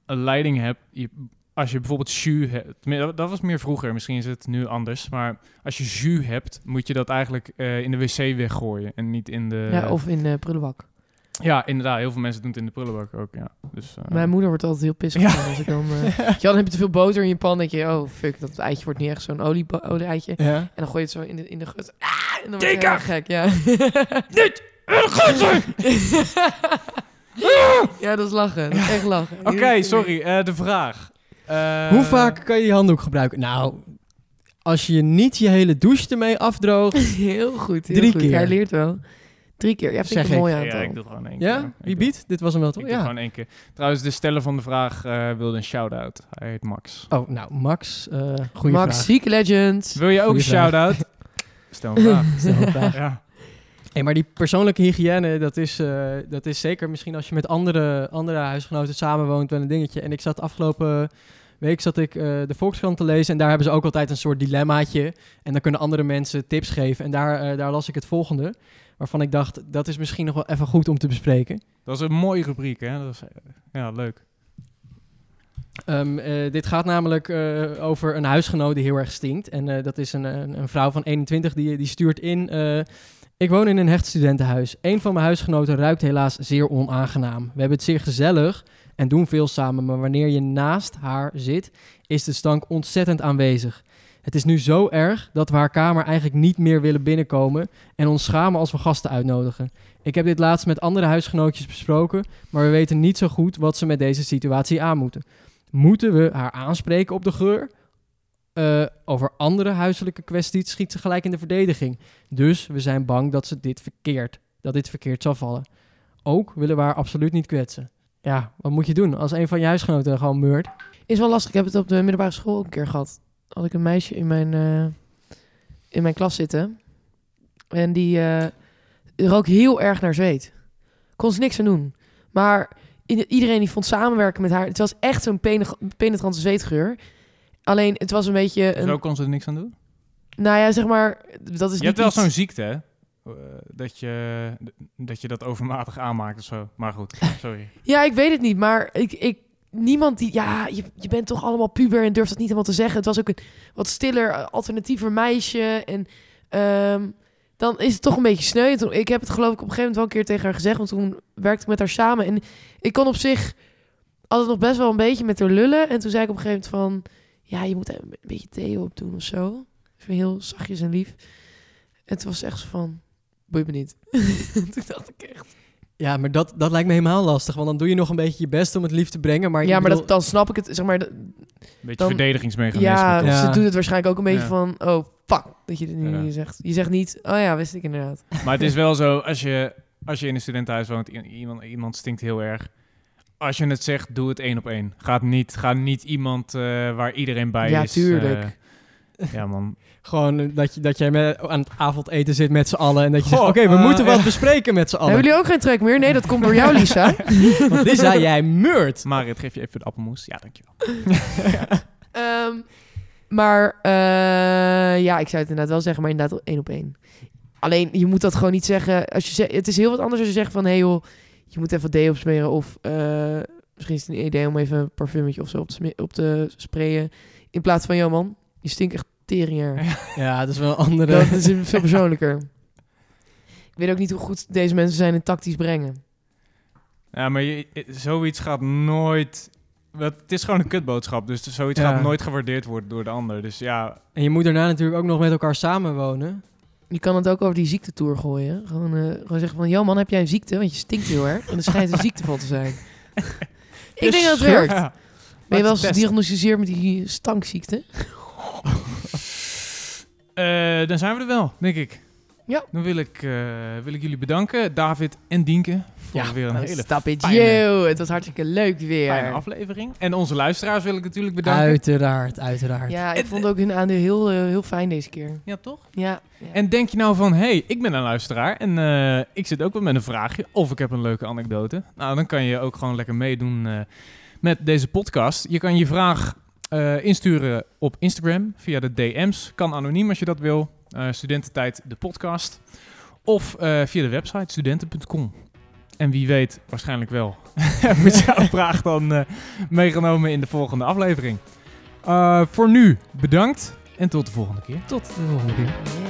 [SPEAKER 1] eh, leiding hebt. Je, als je bijvoorbeeld jus hebt, meer- dat was meer vroeger, misschien is het nu anders. Maar als je jus hebt, moet je dat eigenlijk eh, in de wc weggooien en niet in de...
[SPEAKER 2] ja, of in de prullenbak.
[SPEAKER 1] Ja, inderdaad. Heel veel mensen doen het in de prullenbak ook, ja. Dus, eh,
[SPEAKER 2] Mijn moeder wordt altijd heel pissig van als ik dan... eh, ja, dan heb je te veel boter in je pan, denk je... Oh, fuck, dat eitje wordt niet echt zo'n olie, olie-eitje.
[SPEAKER 3] Ja.
[SPEAKER 2] En dan gooi je het zo in de, in de gut. Ah, en dan word je heel erg gek, ja.
[SPEAKER 1] Niet! Een gutser!
[SPEAKER 2] ja, dat is lachen. Dat is echt lachen.
[SPEAKER 1] Oké, sorry. eh, de vraag. Eh,
[SPEAKER 3] Hoe vaak kan je je handdoek gebruiken? Nou, als je niet je hele douche ermee afdroogt,
[SPEAKER 2] Heel goed, heel
[SPEAKER 3] Drie
[SPEAKER 2] goed.
[SPEAKER 3] keer.
[SPEAKER 2] Jij leert wel. Drie keer. Ja, vind
[SPEAKER 3] Zeg
[SPEAKER 2] ik een mooi
[SPEAKER 1] Ja,
[SPEAKER 2] aantal.
[SPEAKER 1] ik doe het gewoon één keer.
[SPEAKER 3] Ja? Wie biedt? Dit was hem wel
[SPEAKER 1] Ik
[SPEAKER 3] toch?
[SPEAKER 1] doe
[SPEAKER 3] Ja.
[SPEAKER 1] gewoon één keer. Trouwens, de steller van de vraag eh, wilde een shout-out. Hij heet Max.
[SPEAKER 3] Oh, nou, Max, eh goede
[SPEAKER 2] Max,
[SPEAKER 3] vraag.
[SPEAKER 2] zieke legend.
[SPEAKER 1] Wil je ook
[SPEAKER 3] Goeie
[SPEAKER 1] een shout-out? Stel een vraag.
[SPEAKER 3] Stel een vraag.
[SPEAKER 1] Ja.
[SPEAKER 3] Hey, maar die persoonlijke hygiëne, dat is, eh, dat is zeker misschien als je met andere, andere huisgenoten samenwoont wel een dingetje. En ik zat afgelopen week zat ik, eh, de Volkskrant te lezen en daar hebben ze ook altijd een soort dilemmaatje. En dan kunnen andere mensen tips geven. En daar, eh, daar las ik het volgende, waarvan ik dacht, dat is misschien nog wel even goed om te bespreken.
[SPEAKER 1] Dat is een mooie rubriek, hè? Dat is, eh, ja, leuk.
[SPEAKER 3] Ehm, eh, dit gaat namelijk eh, over een huisgenoot die heel erg stinkt. En eh, dat is een, een, een vrouw van 21 die, die stuurt in. eh, ik woon in een hechtstudentenhuis. Een van mijn huisgenoten ruikt helaas zeer onaangenaam. We hebben het zeer gezellig en doen veel samen. Maar wanneer je naast haar zit, is de stank ontzettend aanwezig. Het is nu zo erg dat we haar kamer eigenlijk niet meer willen binnenkomen en ons schamen als we gasten uitnodigen. Ik heb dit laatst met andere huisgenootjes besproken, maar we weten niet zo goed wat ze met deze situatie aan moeten. Moeten we haar aanspreken op de geur? Eh, over andere huiselijke kwesties schiet ze gelijk in de verdediging. Dus we zijn bang dat ze dit verkeerd, dat dit verkeerd zal vallen. Ook willen we haar absoluut niet kwetsen. Ja, wat moet je doen als een van je huisgenoten gewoon meurt?
[SPEAKER 2] Is wel lastig. Ik heb het op de middelbare school ook een keer gehad. Had ik een meisje in mijn, eh, in mijn klas zitten. En die eh rook heel erg naar zweet. Kon ze niks aan doen. Maar i- iedereen die vond samenwerken met haar... Het was echt zo'n penig- penetrante zweetgeur. Alleen, het was een beetje... Een,
[SPEAKER 1] Zo kon ze er niks aan doen.
[SPEAKER 2] Nou ja, zeg maar... Dat is
[SPEAKER 1] je
[SPEAKER 2] niet
[SPEAKER 1] hebt wel
[SPEAKER 2] iets-
[SPEAKER 1] zo'n ziekte, hè? Eh, dat, je, dat je dat overmatig aanmaakt of zo. Maar goed, sorry.
[SPEAKER 2] Ja, ik weet het niet, maar ik, ik, niemand die... Ja, je, je bent toch allemaal puber en durft dat niet helemaal te zeggen. Het was ook een wat stiller, eh, alternatiever meisje. En ehm, dan is het toch een beetje sneu. En Toen, ik heb het geloof ik op een gegeven moment wel een keer tegen haar gezegd... want toen werkte ik met haar samen. En ik kon op zich altijd nog best wel een beetje met haar lullen. En toen zei ik op een gegeven moment van... Ja, je moet een beetje thee op doen of zo. Even heel zachtjes en lief. En toen was ze echt zo van... Boeit me niet. toen dacht ik echt...
[SPEAKER 3] Ja, maar dat, dat lijkt me helemaal lastig. Want dan doe je nog een beetje je best om het lief te brengen. Maar ik
[SPEAKER 2] ja, maar
[SPEAKER 3] bedoel-
[SPEAKER 2] dat, dan snap ik het, zeg maar... dat-
[SPEAKER 1] Beetje
[SPEAKER 2] dan-
[SPEAKER 1] verdedigingsmechanisme.
[SPEAKER 2] Ja,
[SPEAKER 1] toch?
[SPEAKER 3] Ja.
[SPEAKER 2] ze doet het waarschijnlijk ook een beetje
[SPEAKER 1] Ja.
[SPEAKER 2] van... Oh, fuck, dat je dit nu
[SPEAKER 1] Ja.
[SPEAKER 2] niet zegt. Je zegt niet, oh ja, wist ik inderdaad.
[SPEAKER 1] Maar het is wel zo, als je, als je in een studentenhuis woont, i- iemand, iemand stinkt heel erg. Als je het zegt, doe het één op één. Gaat niet, ga niet iemand eh, waar iedereen bij
[SPEAKER 2] Ja,
[SPEAKER 1] is.
[SPEAKER 2] tuurlijk.
[SPEAKER 1] eh, Ja, man.
[SPEAKER 3] Gewoon eh, dat, je, dat jij met, aan het avondeten zit met z'n allen. En dat je zegt,
[SPEAKER 1] Goh,
[SPEAKER 3] oké, we
[SPEAKER 1] eh,
[SPEAKER 3] moeten wat
[SPEAKER 1] ja.
[SPEAKER 3] bespreken met z'n allen.
[SPEAKER 2] Hebben jullie ook geen trek meer? Nee, dat komt door jou, Lisa.
[SPEAKER 3] Want Lisa, jij meurt.
[SPEAKER 1] Marit, geef je even de appelmoes. Ja, dankjewel.
[SPEAKER 2] Ehm, maar eh, ja, ik zou het inderdaad wel zeggen, maar inderdaad één op één. Alleen, je moet dat gewoon niet zeggen. Als je zegt, het is heel wat anders als je zegt van... hé hey joh, je moet even wat D opsmeren. Of eh, misschien is het een idee om even een parfumetje of zo op te, sme- op te sprayen. In plaats van, joh man, je stinkt echt tering erg."
[SPEAKER 3] Ja, dat is wel een andere...
[SPEAKER 2] Dat is veel persoonlijker. Ik weet ook niet hoe goed deze mensen zijn in tactisch brengen.
[SPEAKER 1] Ja, maar je, eh, zoiets gaat nooit... wat- Het is gewoon een kutboodschap, dus zoiets
[SPEAKER 3] Ja.
[SPEAKER 1] gaat nooit gewaardeerd worden door de ander. Dus ja,
[SPEAKER 3] En je moet daarna natuurlijk ook nog met elkaar samenwonen.
[SPEAKER 2] Je kan het ook over die ziektetour gooien. Gewoon, eh, gewoon zeggen van, joh man, heb jij een ziekte? Want je stinkt heel erg. En er schijnt een ziekte van te zijn. Ik denk dat het werkt.
[SPEAKER 1] Ja.
[SPEAKER 2] Ben je wel
[SPEAKER 1] Laat
[SPEAKER 2] eens
[SPEAKER 1] je
[SPEAKER 2] gediagnosticeerd met die stankziekte?
[SPEAKER 1] Eh, dan zijn we er wel, denk ik.
[SPEAKER 2] Ja.
[SPEAKER 1] Dan wil ik, eh, wil ik jullie bedanken, David en Dienke, voor weer een hele
[SPEAKER 2] Nou, Stap it,
[SPEAKER 1] fijne-
[SPEAKER 2] yo. Het was hartstikke leuk weer.
[SPEAKER 1] fijne aflevering. En onze luisteraars wil ik natuurlijk bedanken.
[SPEAKER 3] Uiteraard, uiteraard.
[SPEAKER 2] Ja, ik vond ook hun aandeel heel, eh, heel fijn deze keer.
[SPEAKER 1] Ja, toch?
[SPEAKER 2] Ja.
[SPEAKER 1] En denk je nou van, hé, hey, ik ben een luisteraar en eh, ik zit ook wel met een vraagje of ik heb een leuke anekdote. Nou, dan kan je ook gewoon lekker meedoen eh, met deze podcast. Je kan je vraag eh, insturen op Instagram via de DM's. Kan anoniem als je dat wil. Eh, studententijd, de podcast. Of eh, via de website studenten.com. En wie weet, waarschijnlijk wel, wordt jouw vraag dan eh, meegenomen in de volgende aflevering. Eh, voor nu, bedankt en tot de volgende keer.
[SPEAKER 3] Tot de volgende keer.
[SPEAKER 2] Yeah.